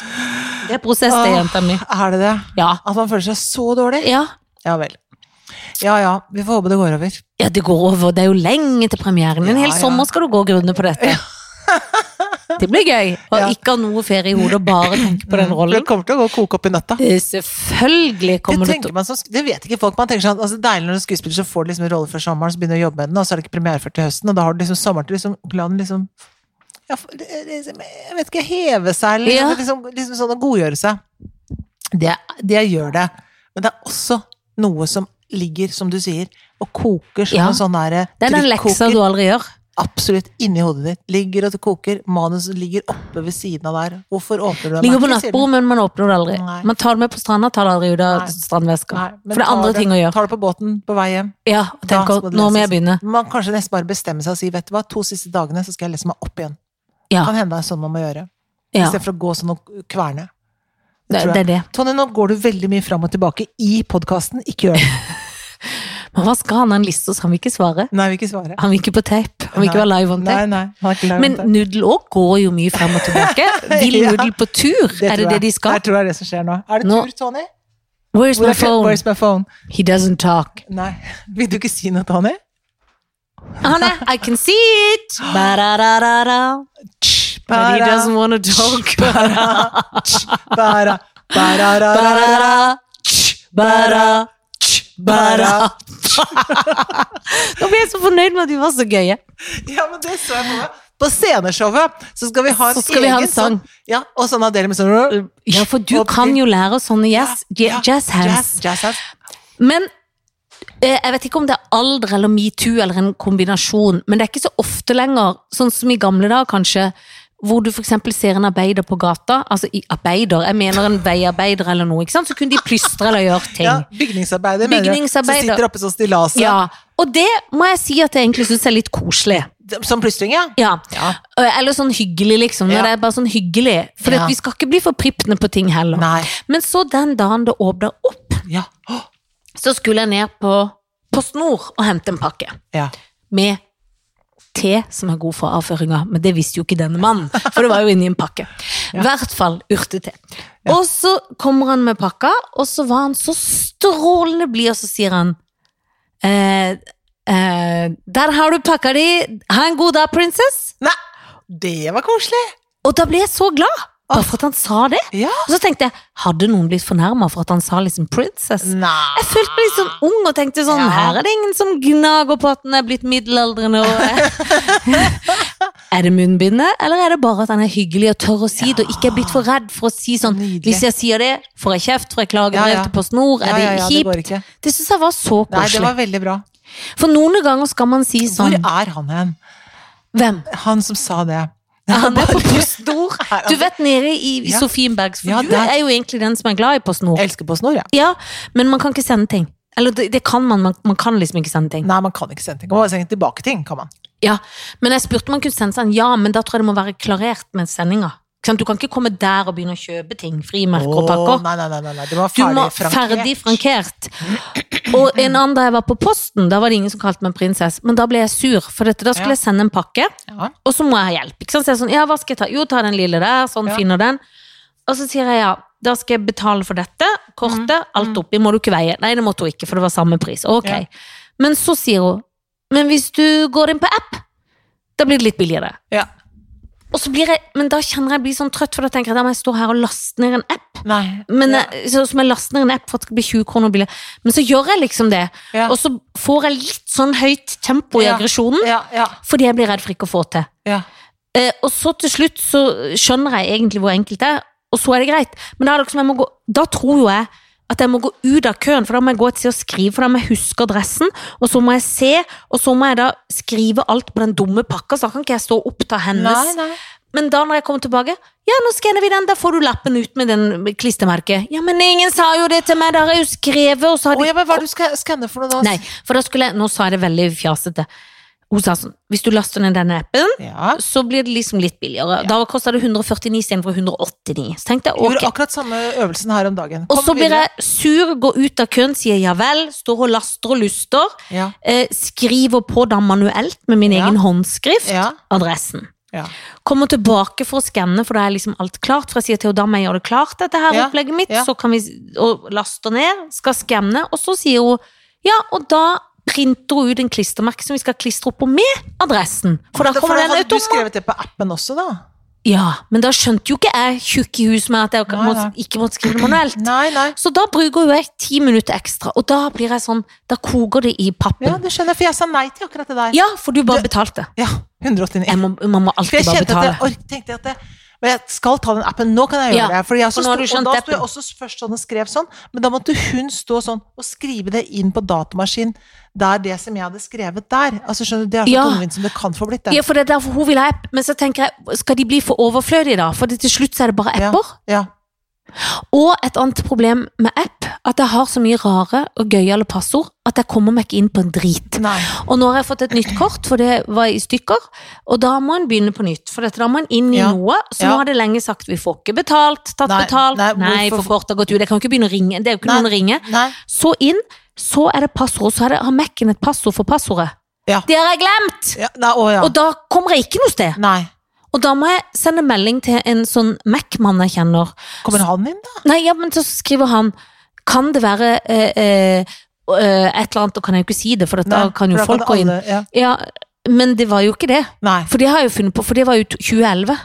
[SPEAKER 2] Det er prosess, det,
[SPEAKER 1] Åh.
[SPEAKER 2] jenta mi.
[SPEAKER 1] Er det det?
[SPEAKER 2] Ja.
[SPEAKER 1] At man føler seg så dårlig?
[SPEAKER 2] ja.
[SPEAKER 1] Ja vel. Ja ja, vi får håpe det går over.
[SPEAKER 2] Ja, det går over. Det er jo lenge til premieren. En
[SPEAKER 1] Ja,
[SPEAKER 2] hel
[SPEAKER 1] ja.
[SPEAKER 2] sommer skal du gå og grunne på dette. Det blir gøy. Og
[SPEAKER 1] Ja.
[SPEAKER 2] ikke ha noe ferie i hodet og bare tenke på
[SPEAKER 1] For det
[SPEAKER 2] den rollen.
[SPEAKER 1] kommer til å gå og koke opp i nøtta.
[SPEAKER 2] Eh, Selvfølgelig
[SPEAKER 1] Det,
[SPEAKER 2] kommer du til
[SPEAKER 1] tenker man som, sk- det vet ikke folk. Man tenker sånn, altså Deilig når du er skuespiller, så får du liksom en rolle før sommeren, så begynner du å jobbe med den, og så er det ikke premiere før til høsten, og da har du liksom sommeren til liksom la den liksom ja, f- det- det- liksom, Jeg vet ikke, heve seg, eller
[SPEAKER 2] Ja.
[SPEAKER 1] liksom, liksom sånn å godgjøre seg. Det, det gjør det. Men det er også noe som ligger, som du sier, og koker som
[SPEAKER 2] Ja.
[SPEAKER 1] en sånn derre
[SPEAKER 2] Det er den leksa du aldri gjør.
[SPEAKER 1] absolutt inni hodet ditt. Ligger og det koker. Manuset ligger oppe ved siden av der. Hvorfor åpner du den?
[SPEAKER 2] Ligger på
[SPEAKER 1] Nei, sier du.
[SPEAKER 2] nattbordet, men man åpner det aldri.
[SPEAKER 1] Nei.
[SPEAKER 2] Man tar det med på stranda, tar det aldri ut av
[SPEAKER 1] Nei.
[SPEAKER 2] strandveska.
[SPEAKER 1] Nei, men
[SPEAKER 2] For det er
[SPEAKER 1] tar
[SPEAKER 2] andre ting å gjøre.
[SPEAKER 1] Tar det på båten på vei hjem.
[SPEAKER 2] Ja, og
[SPEAKER 1] Da
[SPEAKER 2] tenker,
[SPEAKER 1] skal det
[SPEAKER 2] nå må jeg
[SPEAKER 1] leses.
[SPEAKER 2] begynne.
[SPEAKER 1] Man kanskje nesten bare bestemmer seg og si vet du hva, to siste dagene så skal jeg lese meg opp igjen.
[SPEAKER 2] Ja.
[SPEAKER 1] Kan hende det er sånn man må gjøre.
[SPEAKER 2] Ja,
[SPEAKER 1] Istedenfor å gå sånn og kverne.
[SPEAKER 2] det,
[SPEAKER 1] tror jeg.
[SPEAKER 2] det er det.
[SPEAKER 1] Tonje, nå går du veldig mye fram og tilbake i podkasten. Ikke gjør det.
[SPEAKER 2] Men hva skal han ha en liste hos? Han vil ikke svare.
[SPEAKER 1] Nei, vil ikke svare.
[SPEAKER 2] Han vil ikke på tape. Han vil
[SPEAKER 1] Nei.
[SPEAKER 2] ikke være live on
[SPEAKER 1] Nei,
[SPEAKER 2] tape.
[SPEAKER 1] nei. han er ikke lei av
[SPEAKER 2] Men
[SPEAKER 1] det.
[SPEAKER 2] Nudel òg går jo mye frem og tilbake. Vil
[SPEAKER 1] Ja.
[SPEAKER 2] Nudel på tur? Er det
[SPEAKER 1] tror
[SPEAKER 2] det
[SPEAKER 1] jeg.
[SPEAKER 2] de skal?
[SPEAKER 1] Jeg tror det er det som skjer nå. Er det
[SPEAKER 2] Nå-
[SPEAKER 1] tur, Tony?
[SPEAKER 2] Where's my phone?
[SPEAKER 1] Where's my phone?
[SPEAKER 2] He doesn't talk.
[SPEAKER 1] Nei. Vil du ikke si noe, Tony?
[SPEAKER 2] Han er I can see it! Ba-da-da-da-da. But he doesn't want to talk.
[SPEAKER 1] Bara, bara, bara,
[SPEAKER 2] Ba-da-da. Tch, Ba-da. Tch, Ba-da. Nå ble jeg så fornøyd med at vi var så gøye.
[SPEAKER 1] Ja, men det så jeg på meg. På sceneshowet så skal vi ha en,
[SPEAKER 2] Så skal vi ha en
[SPEAKER 1] egen
[SPEAKER 2] sang.
[SPEAKER 1] Sånn, ja, og sånn Adele med sånn
[SPEAKER 2] Ja, for du
[SPEAKER 1] Og-
[SPEAKER 2] kan jo lære sånne jazz,
[SPEAKER 1] Ja,
[SPEAKER 2] jazz hands.
[SPEAKER 1] Jazz, jazz hands.
[SPEAKER 2] Men eh, jeg vet ikke om det er alder eller metoo eller en kombinasjon, men det er ikke så ofte lenger, sånn som i gamle dager kanskje, hvor du for eksempel ser en arbeider på gata, altså i arbeider, jeg mener en veiarbeider eller noe, ikke sant? Så kunne de plystre eller gjøre ting.
[SPEAKER 1] Ja, bygningsarbeider, mener jeg. Som
[SPEAKER 2] Bygningsarbeider.
[SPEAKER 1] sitter oppe sånn som stillaset.
[SPEAKER 2] Ja, og det må jeg si at jeg egentlig synes er litt koselig.
[SPEAKER 1] Som plystring, ja.
[SPEAKER 2] Ja.
[SPEAKER 1] Ja.
[SPEAKER 2] Eller sånn hyggelig, liksom. Når
[SPEAKER 1] Ja.
[SPEAKER 2] det er bare sånn hyggelig. For
[SPEAKER 1] Ja.
[SPEAKER 2] at vi skal ikke bli forpripne på ting heller.
[SPEAKER 1] Nei.
[SPEAKER 2] Men så den dagen det åpner opp,
[SPEAKER 1] Ja. Åh,
[SPEAKER 2] så skulle jeg ned på Post Nord og hente en pakke.
[SPEAKER 1] ja.
[SPEAKER 2] Med te som er god for avføringa, men det visste jo ikke denne mannen. For det var jo inni en pakke. I hvert fall urtete. Og så kommer han med pakka, og så var han så strålende blid, og så sier han eh, eh, Der har du pakka di! Ha en god dag, princess!
[SPEAKER 1] Nei, det var koselig.
[SPEAKER 2] Og da ble jeg så glad, bare for at han sa det.
[SPEAKER 1] Ja.
[SPEAKER 2] Og så tenkte jeg, hadde noen blitt fornærma for at han sa liksom 'princess'?
[SPEAKER 1] Nei.
[SPEAKER 2] Jeg følte meg litt sånn ung og tenkte sånn
[SPEAKER 1] Ja.
[SPEAKER 2] Her er det ingen som gnager på at han er blitt middelaldrende. Og er det munnbindet, eller er det bare at han er hyggelig og tør å si det, og ikke er blitt for redd for å si sånn
[SPEAKER 1] Nydelig.
[SPEAKER 2] Hvis jeg sier det, får jeg kjeft, får jeg klagebrev
[SPEAKER 1] Ja, ja.
[SPEAKER 2] til Post Nord, er
[SPEAKER 1] Ja,
[SPEAKER 2] det
[SPEAKER 1] ja, ja, det
[SPEAKER 2] kjipt?
[SPEAKER 1] går
[SPEAKER 2] Det,
[SPEAKER 1] ikke.
[SPEAKER 2] syns jeg var så
[SPEAKER 1] Nei, det
[SPEAKER 2] koselig.
[SPEAKER 1] var veldig bra.
[SPEAKER 2] For noen ganger skal man si
[SPEAKER 1] Hvor
[SPEAKER 2] sånn
[SPEAKER 1] er han hen?
[SPEAKER 2] Hvem?
[SPEAKER 1] Han som sa det. altså.
[SPEAKER 2] Han er på Post Nord. Du vet nede i
[SPEAKER 1] Ja.
[SPEAKER 2] Sofienbergs, for
[SPEAKER 1] Ja,
[SPEAKER 2] du
[SPEAKER 1] der-
[SPEAKER 2] er jo egentlig den som er glad i Post Nord.
[SPEAKER 1] Jeg elsker på snor, ja.
[SPEAKER 2] Ja, men man kan ikke sende ting. Eller det, det kan man, man, man kan liksom ikke sende ting.
[SPEAKER 1] Nei, man kan ikke sende ting. Man kan bare sende tilbake ting, kan man.
[SPEAKER 2] Ja, men jeg spurte om man kunne sende seg en ja, men da tror jeg det må være klarert med sendinga. Ikke sant? Du kan ikke komme der og begynne å kjøpe ting, frimerker og
[SPEAKER 1] Åh,
[SPEAKER 2] pakker.
[SPEAKER 1] nei, nei, nei, nei, nei. Det var
[SPEAKER 2] Du må
[SPEAKER 1] ferdig frankert.
[SPEAKER 2] ferdig frankert. Og en annen da jeg var på posten, da var det ingen som kalte meg prinsesse, men da ble jeg sur, for dette, da
[SPEAKER 1] Ja.
[SPEAKER 2] skulle jeg sende en pakke,
[SPEAKER 1] Ja.
[SPEAKER 2] og så må jeg ha hjelp. Ikke sant? Så jeg er sånn, ja, hva skal jeg ta? Jo, ta den lille der, sånn
[SPEAKER 1] Ja.
[SPEAKER 2] finner den. Og så sier jeg ja, da skal jeg betale for dette, kortet, alt oppi, må du ikke veie. Nei, det måtte hun ikke, for det var samme pris. Ok.
[SPEAKER 1] Mm, Ja.
[SPEAKER 2] Men så sier hun, men hvis du går inn på app, da blir det litt billigere.
[SPEAKER 1] Ja.
[SPEAKER 2] Og så blir jeg, men da kjenner jeg jeg blir sånn trøtt, for da tenker jeg, da må jeg stå her og laste ned en app.
[SPEAKER 1] Nei.
[SPEAKER 2] Men,
[SPEAKER 1] ja.
[SPEAKER 2] jeg- så, som jeg laster ned en app for at det skal bli 20 kroner billigere. Men så gjør jeg liksom det,
[SPEAKER 1] Ja.
[SPEAKER 2] og så får jeg litt sånn høyt tempo i
[SPEAKER 1] Ja.
[SPEAKER 2] aggresjonen,
[SPEAKER 1] ja, ja,
[SPEAKER 2] fordi jeg blir redd for ikke å få til.
[SPEAKER 1] ja.
[SPEAKER 2] Eh, og så til slutt så skjønner jeg egentlig hvor enkelt det er, og så er det greit. Men da, er det liksom, jeg må gå, da tror jo jeg at jeg må gå ut av køen, for da må jeg gå et sted og skrive, for da må jeg huske adressen, og så må jeg se, og så må jeg da skrive alt på den dumme pakka, så da kan ikke jeg stå og oppta hennes.
[SPEAKER 1] Nei, nei.
[SPEAKER 2] Men da når jeg kommer tilbake, ja, nå skanner vi den, da får du lappen ut med den klistremerket. Ja, men ingen sa jo det til meg, da har jeg jo skrevet, og så har
[SPEAKER 1] Å,
[SPEAKER 2] de
[SPEAKER 1] ja, men hva er det du skal skanne for noe da?
[SPEAKER 2] Nei, for da skulle jeg, nå sa jeg det veldig fjasete. Hun sa sånn, hvis du laster ned denne appen,
[SPEAKER 1] Ja.
[SPEAKER 2] så blir det liksom litt billigere. Da kosta det 149 istedenfor 189. Så tenkte jeg,
[SPEAKER 1] Gjorde
[SPEAKER 2] ok.
[SPEAKER 1] akkurat samme øvelsen her om dagen.
[SPEAKER 2] Og
[SPEAKER 1] Kom
[SPEAKER 2] så blir
[SPEAKER 1] videre.
[SPEAKER 2] jeg sur, går ut av køen, sier ja vel, står og laster og luster.
[SPEAKER 1] Ja.
[SPEAKER 2] Eh, skriver på da manuelt med min
[SPEAKER 1] Ja.
[SPEAKER 2] egen håndskrift
[SPEAKER 1] Ja.
[SPEAKER 2] adressen.
[SPEAKER 1] Ja.
[SPEAKER 2] Kommer tilbake for å skanne, for da er liksom alt klart. For jeg sier til henne da må jeg gjøre det klart, dette her
[SPEAKER 1] Ja.
[SPEAKER 2] opplegget mitt.
[SPEAKER 1] Ja.
[SPEAKER 2] Så kan vi og laster ned, skal skanne, og så sier hun ja, og da printer hun ut en klistremerke som vi skal klistre opp på med adressen. For da
[SPEAKER 1] For
[SPEAKER 2] kommer
[SPEAKER 1] da
[SPEAKER 2] den
[SPEAKER 1] hadde du sånn
[SPEAKER 2] automatisk.
[SPEAKER 1] skrevet det på appen også, da?
[SPEAKER 2] Ja, men da skjønte jo ikke jeg tjukk i huset med at jeg
[SPEAKER 1] Nei,
[SPEAKER 2] måtte,
[SPEAKER 1] nei.
[SPEAKER 2] ikke måtte skrive det manuelt.
[SPEAKER 1] Nei, nei.
[SPEAKER 2] Så da bruker jo jeg ti minutter ekstra, og da blir jeg sånn, da koker det i
[SPEAKER 1] Ja,
[SPEAKER 2] pappen.
[SPEAKER 1] det skjønner jeg, for jeg sa nei til akkurat det der.
[SPEAKER 2] Ja, for du bare betalte.
[SPEAKER 1] Ja, 189.
[SPEAKER 2] Jeg må, man må
[SPEAKER 1] For
[SPEAKER 2] alltid
[SPEAKER 1] jeg
[SPEAKER 2] bare
[SPEAKER 1] kjente at
[SPEAKER 2] betale.
[SPEAKER 1] jeg ork, tenkte at jeg, men jeg skal ta den appen, nå kan jeg gjøre
[SPEAKER 2] Ja,
[SPEAKER 1] det. Fordi jeg så
[SPEAKER 2] for nå har
[SPEAKER 1] sto-
[SPEAKER 2] du skjønt
[SPEAKER 1] og da sto jeg
[SPEAKER 2] appen.
[SPEAKER 1] også først sånn og skrev sånn, men da måtte hun stå sånn og skrive det inn på datamaskin der det som jeg hadde skrevet der. Altså skjønner du, Det er så
[SPEAKER 2] Ja.
[SPEAKER 1] tungvint som det kan få blitt, det.
[SPEAKER 2] Ja, for det er derfor hun vil ha app, men så tenker jeg, skal de bli for overflødige da? For det- til slutt så er det bare
[SPEAKER 1] Ja.
[SPEAKER 2] apper.
[SPEAKER 1] Ja.
[SPEAKER 2] Og et annet problem med app, at jeg har så mye rare og gøyale passord, at jeg kommer meg ikke inn på en drit.
[SPEAKER 1] Nei.
[SPEAKER 2] Og nå har jeg fått et nytt kort, for det var i stykker. Og da må en begynne på nytt, for dette, da må en inn i
[SPEAKER 1] Ja.
[SPEAKER 2] noe. Så
[SPEAKER 1] Ja.
[SPEAKER 2] nå har det lenge sagt vi får ikke betalt, tatt
[SPEAKER 1] Nei,
[SPEAKER 2] betalt.
[SPEAKER 1] nei,
[SPEAKER 2] Nei,
[SPEAKER 1] hvorfor-
[SPEAKER 2] for kort har gått ut. Jeg kan jo ikke begynne å ringe. Det er jo ikke
[SPEAKER 1] Nei.
[SPEAKER 2] noen å ringe.
[SPEAKER 1] Nei.
[SPEAKER 2] Så inn, så er det passord, og så er det, har Mac-en et passord for passordet.
[SPEAKER 1] Ja.
[SPEAKER 2] Det har jeg glemt!
[SPEAKER 1] Ja, nei, å ja.
[SPEAKER 2] Og da kommer jeg ikke noe sted.
[SPEAKER 1] Nei.
[SPEAKER 2] Og da må jeg sende melding til en sånn Mac-mann jeg kjenner.
[SPEAKER 1] Kommer han inn, da?
[SPEAKER 2] Nei, ja, men så skriver han Kan det være eh, eh, eh, et eller annet, og kan jeg jo ikke si det, for at da
[SPEAKER 1] Nei,
[SPEAKER 2] kan jo
[SPEAKER 1] for
[SPEAKER 2] folk gå inn.
[SPEAKER 1] alle- Ja.
[SPEAKER 2] Ja, men det var jo ikke det.
[SPEAKER 1] Nei.
[SPEAKER 2] For det har jeg jo funnet på, for det var jo t- 2011.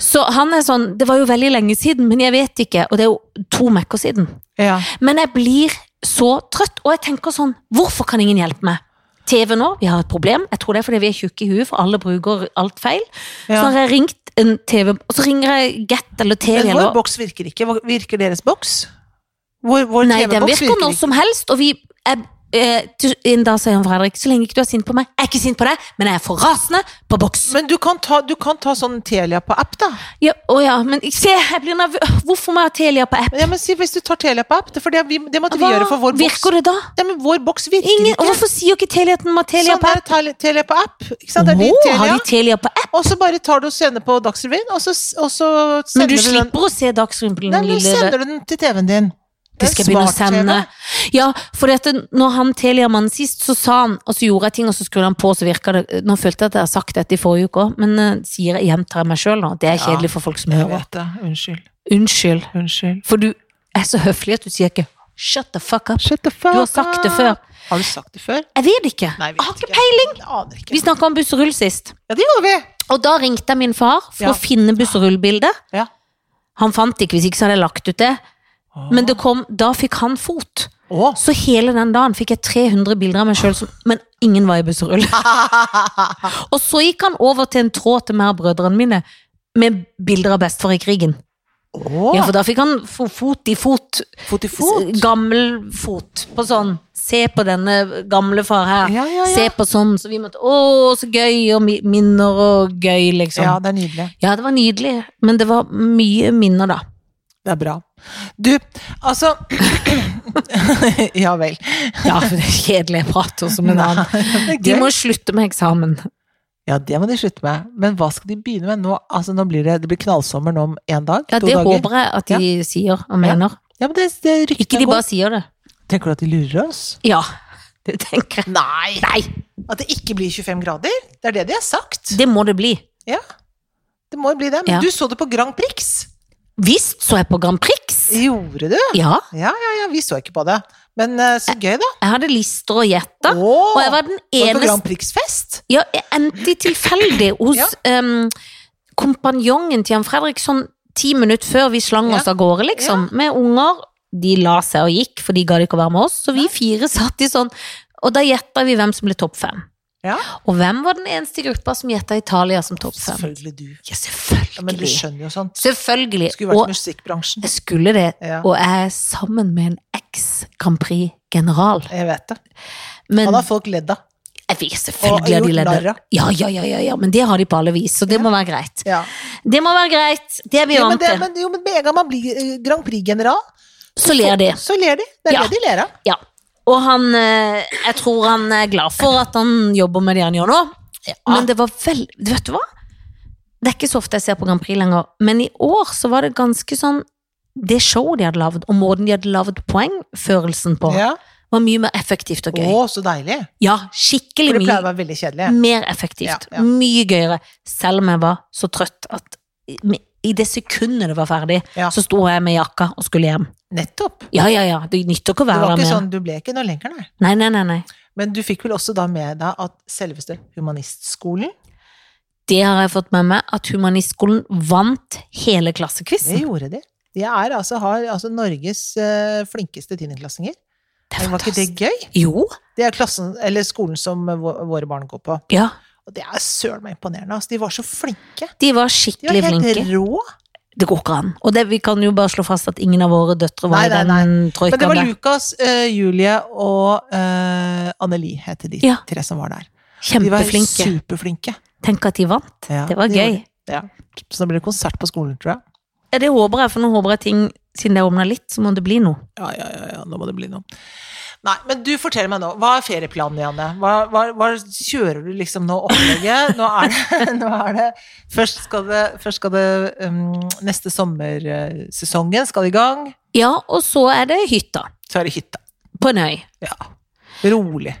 [SPEAKER 2] Så han er sånn, det var jo veldig lenge siden, men jeg vet ikke, og det er jo to mekker siden.
[SPEAKER 1] Ja.
[SPEAKER 2] Men jeg blir så trøtt. Og jeg tenker sånn, hvorfor kan ingen hjelpe meg? TV nå, vi har et problem. Jeg tror det er fordi vi er tjukke i huet, for alle bruker alt feil. Så
[SPEAKER 1] Ja.
[SPEAKER 2] har jeg ringt en TV, og så ringer jeg Get eller TV.
[SPEAKER 1] Men
[SPEAKER 2] eller
[SPEAKER 1] vår boks virker ikke. Hva- Virker deres boks? Vår, vår
[SPEAKER 2] Nei, den
[SPEAKER 1] TV-boks
[SPEAKER 2] virker
[SPEAKER 1] virker
[SPEAKER 2] når
[SPEAKER 1] ikke.
[SPEAKER 2] som helst, og vi er Eh, til- en dag sier han Fredrik, så lenge ikke du er sint på meg Jeg er ikke sint på deg, men jeg er for rasende på boks.
[SPEAKER 1] Men du kan ta, du kan ta sånn Telia på app, da.
[SPEAKER 2] Ja, å ja, men se, jeg blir nervøs. Hvorfor må jeg ha Telia på app?
[SPEAKER 1] Ja, men si, hvis du tar Telia på app, det, for det, vi, det måtte vi gjøre for vår boks.
[SPEAKER 2] virker det da?
[SPEAKER 1] Ja, men vår boks virker
[SPEAKER 2] Ingen, og
[SPEAKER 1] ikke.
[SPEAKER 2] hvorfor sier ikke Telia at den må ha Telia
[SPEAKER 1] Sånn
[SPEAKER 2] på
[SPEAKER 1] er
[SPEAKER 2] app?
[SPEAKER 1] Telia- Telia på app. Ikke sant? Det er din
[SPEAKER 2] Åh, har
[SPEAKER 1] Telia.
[SPEAKER 2] de Telia på app?
[SPEAKER 1] Og så bare tar du og sender på Dagsrevyen, og så, og så sender
[SPEAKER 2] Men du
[SPEAKER 1] du den
[SPEAKER 2] slipper å se Dagsrevyen
[SPEAKER 1] Nei,
[SPEAKER 2] på
[SPEAKER 1] men
[SPEAKER 2] den lille
[SPEAKER 1] sender du den til TV-en din.
[SPEAKER 2] Det skal jeg begynne å
[SPEAKER 1] Smart TV.
[SPEAKER 2] sende. Ja, for dette, når han Telia-mannen sist, så sa han, og så gjorde jeg ting, og så skrudde han på, så virka det Nå følte jeg at jeg har sagt dette i forrige uke òg, men eh, sier jeg gjentar jeg meg sjøl nå. Det er
[SPEAKER 1] Ja,
[SPEAKER 2] kjedelig for folk som
[SPEAKER 1] Jeg
[SPEAKER 2] hører.
[SPEAKER 1] vet det. Unnskyld.
[SPEAKER 2] Unnskyld.
[SPEAKER 1] Unnskyld.
[SPEAKER 2] For du er så høflig at du sier ikke 'shut the fuck up'.
[SPEAKER 1] Shut the fuck
[SPEAKER 2] Du har sagt det før.
[SPEAKER 1] up. Har du sagt det før?
[SPEAKER 2] Jeg vet ikke.
[SPEAKER 1] Nei,
[SPEAKER 2] jeg har ikke peiling.
[SPEAKER 1] Aner ikke.
[SPEAKER 2] Vi snakka om buss og rull sist.
[SPEAKER 1] Ja, det gjorde vi.
[SPEAKER 2] Og da ringte jeg min far for
[SPEAKER 1] Ja.
[SPEAKER 2] å finne buss- og rullbildet.
[SPEAKER 1] Ja.
[SPEAKER 2] Han fant det ikke, hvis ikke så hadde jeg lagt ut det. Men det kom, da fikk han fot.
[SPEAKER 1] Å.
[SPEAKER 2] Så hele den dagen fikk jeg 300 bilder av meg sjøl, men ingen var i buss og rull. og så gikk han over til en tråd til meg og brødrene mine med bilder av bestefar i krigen.
[SPEAKER 1] Å.
[SPEAKER 2] Ja, for da fikk han fo- fot i fot.
[SPEAKER 1] Fot i fot.
[SPEAKER 2] S- Gammel fot. På sånn Se på denne gamle far her.
[SPEAKER 1] Ja, ja, ja.
[SPEAKER 2] Se på sånn. Så vi måtte Å, så gøy, og mi- minner og gøy, liksom.
[SPEAKER 1] Ja, det er nydelig.
[SPEAKER 2] Ja, det var nydelig, men det var mye minner da.
[SPEAKER 1] Det er bra. Du, altså Ja vel.
[SPEAKER 2] Ja, for det er kjedelig jeg prater som en
[SPEAKER 1] Nei,
[SPEAKER 2] annen.
[SPEAKER 1] det er
[SPEAKER 2] De
[SPEAKER 1] gøy.
[SPEAKER 2] må slutte med eksamen.
[SPEAKER 1] Ja, det må de slutte med. Men hva skal de begynne med nå? Altså, nå blir det, det blir knallsommer nå om én dag?
[SPEAKER 2] Ja,
[SPEAKER 1] to
[SPEAKER 2] det
[SPEAKER 1] dager.
[SPEAKER 2] håper jeg at de sier og mener.
[SPEAKER 1] Ja, men det, det
[SPEAKER 2] Ikke
[SPEAKER 1] ryktene
[SPEAKER 2] de
[SPEAKER 1] går.
[SPEAKER 2] bare sier det.
[SPEAKER 1] Tenker du at de lurer oss?
[SPEAKER 2] Ja, det tenker jeg.
[SPEAKER 1] Nei!
[SPEAKER 2] Nei,
[SPEAKER 1] At det ikke blir 25 grader? Det er det de har sagt.
[SPEAKER 2] det må det bli.
[SPEAKER 1] Ja. Det må jo bli det. Men
[SPEAKER 2] Ja.
[SPEAKER 1] du så det på Grand Prix.
[SPEAKER 2] Visst så jeg på Grand Prix.
[SPEAKER 1] Gjorde du?
[SPEAKER 2] Ja,
[SPEAKER 1] Ja, ja, ja. Vi så ikke på det. Men eh, så gøy, da.
[SPEAKER 2] jeg hadde lister og gjetter.
[SPEAKER 1] Åh,
[SPEAKER 2] Og jeg var
[SPEAKER 1] var
[SPEAKER 2] den
[SPEAKER 1] du på
[SPEAKER 2] eneste
[SPEAKER 1] Grand Prix-fest?
[SPEAKER 2] Ja, jeg endte tilfeldig hos
[SPEAKER 1] Ja.
[SPEAKER 2] em, kompanjongen til Jan Fredrik sånn ti minutter før vi slang
[SPEAKER 1] Ja.
[SPEAKER 2] oss av gårde, liksom. Med unger. De la seg og gikk, for de gadd ikke å være med oss. Så vi fire satt i sånn. Og da gjetta vi hvem som ble topp fem.
[SPEAKER 1] Ja.
[SPEAKER 2] Og hvem var den eneste i gruppa som gjetta Italia som topp fem?
[SPEAKER 1] Selvfølgelig du.
[SPEAKER 2] Ja,
[SPEAKER 1] Ja, men du
[SPEAKER 2] selvfølgelig.
[SPEAKER 1] skjønner jo sånt.
[SPEAKER 2] Selvfølgelig.
[SPEAKER 1] Skulle vært
[SPEAKER 2] Og
[SPEAKER 1] musikkbransjen.
[SPEAKER 2] jeg skulle det.
[SPEAKER 1] Ja.
[SPEAKER 2] Og jeg er sammen med en eks Grand Prix-general.
[SPEAKER 1] Jeg vet det.
[SPEAKER 2] Men
[SPEAKER 1] Han har folk ledd av.
[SPEAKER 2] jeg vet selvfølgelig
[SPEAKER 1] Og
[SPEAKER 2] at de
[SPEAKER 1] gjort narr
[SPEAKER 2] leder.
[SPEAKER 1] av.
[SPEAKER 2] Ja, ja, ja, ja, ja, men det har de på alle vis, så det må være greit.
[SPEAKER 1] Ja.
[SPEAKER 2] Det må være greit. Det er vi
[SPEAKER 1] Ja, men
[SPEAKER 2] vant
[SPEAKER 1] det,
[SPEAKER 2] til.
[SPEAKER 1] men, jo, men med en gang man blir eh, Grand Prix-general,
[SPEAKER 2] Så ler de.
[SPEAKER 1] så ler de. Det er
[SPEAKER 2] Ja.
[SPEAKER 1] det de ler av.
[SPEAKER 2] Ja. Og han eh, Jeg tror han er glad for at han jobber med det han gjør nå. Men det var vel Vet du hva? Det er ikke så ofte jeg ser på Grand Prix lenger, men i år så var det ganske sånn Det showet de hadde lagd, og måten de hadde lagd poengførelsen på,
[SPEAKER 1] Ja.
[SPEAKER 2] var mye mer effektivt og
[SPEAKER 1] Å,
[SPEAKER 2] gøy.
[SPEAKER 1] så deilig.
[SPEAKER 2] Ja,
[SPEAKER 1] For
[SPEAKER 2] skikkelig
[SPEAKER 1] det pleier å
[SPEAKER 2] mye
[SPEAKER 1] være veldig kjedelig.
[SPEAKER 2] mer effektivt.
[SPEAKER 1] Ja, ja.
[SPEAKER 2] Mye gøyere. Selv om jeg var så trøtt at i- i det sekundet det var ferdig,
[SPEAKER 1] Ja.
[SPEAKER 2] så sto jeg med jakka og skulle hjem.
[SPEAKER 1] Nettopp.
[SPEAKER 2] Ja, ja, ja. Det nytter ikke
[SPEAKER 1] Det
[SPEAKER 2] å være
[SPEAKER 1] var
[SPEAKER 2] der
[SPEAKER 1] ikke
[SPEAKER 2] mer.
[SPEAKER 1] sånn, du ble ikke noe lenger, nei.
[SPEAKER 2] Nei, nei, nei, nei.
[SPEAKER 1] Men du fikk vel også da med deg at selveste humanistskolen
[SPEAKER 2] Det har jeg fått med meg, at humanistskolen vant hele
[SPEAKER 1] Det
[SPEAKER 2] klassekvissen.
[SPEAKER 1] gjorde de. De er altså, har altså Norges eh, flinkeste tiendeklassinger.
[SPEAKER 2] Det er
[SPEAKER 1] Men Var ikke det
[SPEAKER 2] fantastisk.
[SPEAKER 1] gøy?
[SPEAKER 2] Jo,
[SPEAKER 1] Det er klassen, eller skolen som eh, vå- våre barn går på.
[SPEAKER 2] ja.
[SPEAKER 1] Og det er søren meg imponerende. Altså, de var så flinke.
[SPEAKER 2] De var
[SPEAKER 1] De var
[SPEAKER 2] skikkelig
[SPEAKER 1] helt
[SPEAKER 2] flinke.
[SPEAKER 1] rå.
[SPEAKER 2] Det går ikke an. Og det, vi kan jo bare slå fast at ingen av våre døtre
[SPEAKER 1] Nei,
[SPEAKER 2] var
[SPEAKER 1] nei,
[SPEAKER 2] i den
[SPEAKER 1] Men det
[SPEAKER 2] troikaen
[SPEAKER 1] var
[SPEAKER 2] der.
[SPEAKER 1] Lukas, eh, Julie og eh, Anneli heter de
[SPEAKER 2] Ja.
[SPEAKER 1] tre som var der. De var
[SPEAKER 2] Kjempeflinke.
[SPEAKER 1] superflinke.
[SPEAKER 2] Tenk at de vant.
[SPEAKER 1] Ja,
[SPEAKER 2] Det var
[SPEAKER 1] de
[SPEAKER 2] gøy.
[SPEAKER 1] gjorde det. Ja. Så da blir det konsert på skolen, tror jeg.
[SPEAKER 2] Ja, Det håper jeg, for nå håper jeg ting Siden det åpna litt, så må det bli noe.
[SPEAKER 1] Ja, ja, ja, ja, nå må det bli noe. Nei, men du fortell meg nå, hva er ferieplanen, Janne? Hva, hva, hva kjører du liksom nå opplegget? Nå er det, nå er det Først skal det, først skal det um, Neste sommersesongen skal i gang,
[SPEAKER 2] Ja, og så er det hytta.
[SPEAKER 1] så er det hytta.
[SPEAKER 2] På en øy.
[SPEAKER 1] Ja. Rolig.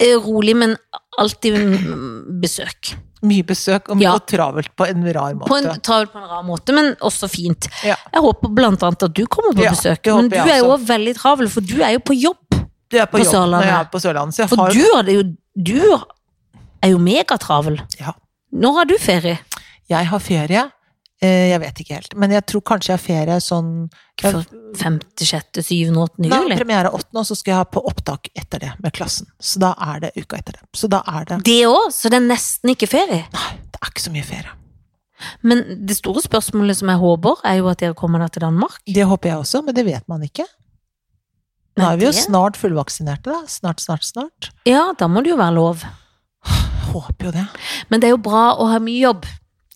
[SPEAKER 2] Eh, Rolig, men alltid mm, besøk.
[SPEAKER 1] Mye besøk og,
[SPEAKER 2] Ja.
[SPEAKER 1] og travelt på en rar måte.
[SPEAKER 2] På en, travelt på en rar måte, men også fint.
[SPEAKER 1] Ja.
[SPEAKER 2] Jeg håper blant annet at du kommer på
[SPEAKER 1] Ja,
[SPEAKER 2] besøk,
[SPEAKER 1] det håper
[SPEAKER 2] men du
[SPEAKER 1] jeg
[SPEAKER 2] er jo
[SPEAKER 1] også.
[SPEAKER 2] også veldig travel, for du er jo på jobb.
[SPEAKER 1] Du er på,
[SPEAKER 2] på
[SPEAKER 1] jobb
[SPEAKER 2] Sørlandet.
[SPEAKER 1] når jeg er på Sørlandet, så jeg
[SPEAKER 2] For
[SPEAKER 1] har
[SPEAKER 2] du er jo, du er jo megatravel.
[SPEAKER 1] Ja.
[SPEAKER 2] Når har du ferie?
[SPEAKER 1] Jeg har ferie Eh, Jeg vet ikke helt. Men jeg tror kanskje jeg har ferie sånn
[SPEAKER 2] Ikke før 5., 6., 7., 8.
[SPEAKER 1] Nei,
[SPEAKER 2] juli.
[SPEAKER 1] premiere 8., og så skal jeg ha på opptak etter det med klassen. Så da er det uka etter det. Så da er det
[SPEAKER 2] Det òg, så det er nesten ikke ferie.
[SPEAKER 1] Nei, det er ikke så mye ferie.
[SPEAKER 2] Men det store spørsmålet som jeg håper, er jo at dere kommer da til Danmark.
[SPEAKER 1] Det håper jeg også, men det vet man ikke. Nå
[SPEAKER 2] Nei,
[SPEAKER 1] er vi jo
[SPEAKER 2] det-
[SPEAKER 1] snart fullvaksinerte, da. Snart, snart, snart.
[SPEAKER 2] Ja, da må det jo være lov.
[SPEAKER 1] Håper jo det.
[SPEAKER 2] Men det er jo bra å ha mye jobb.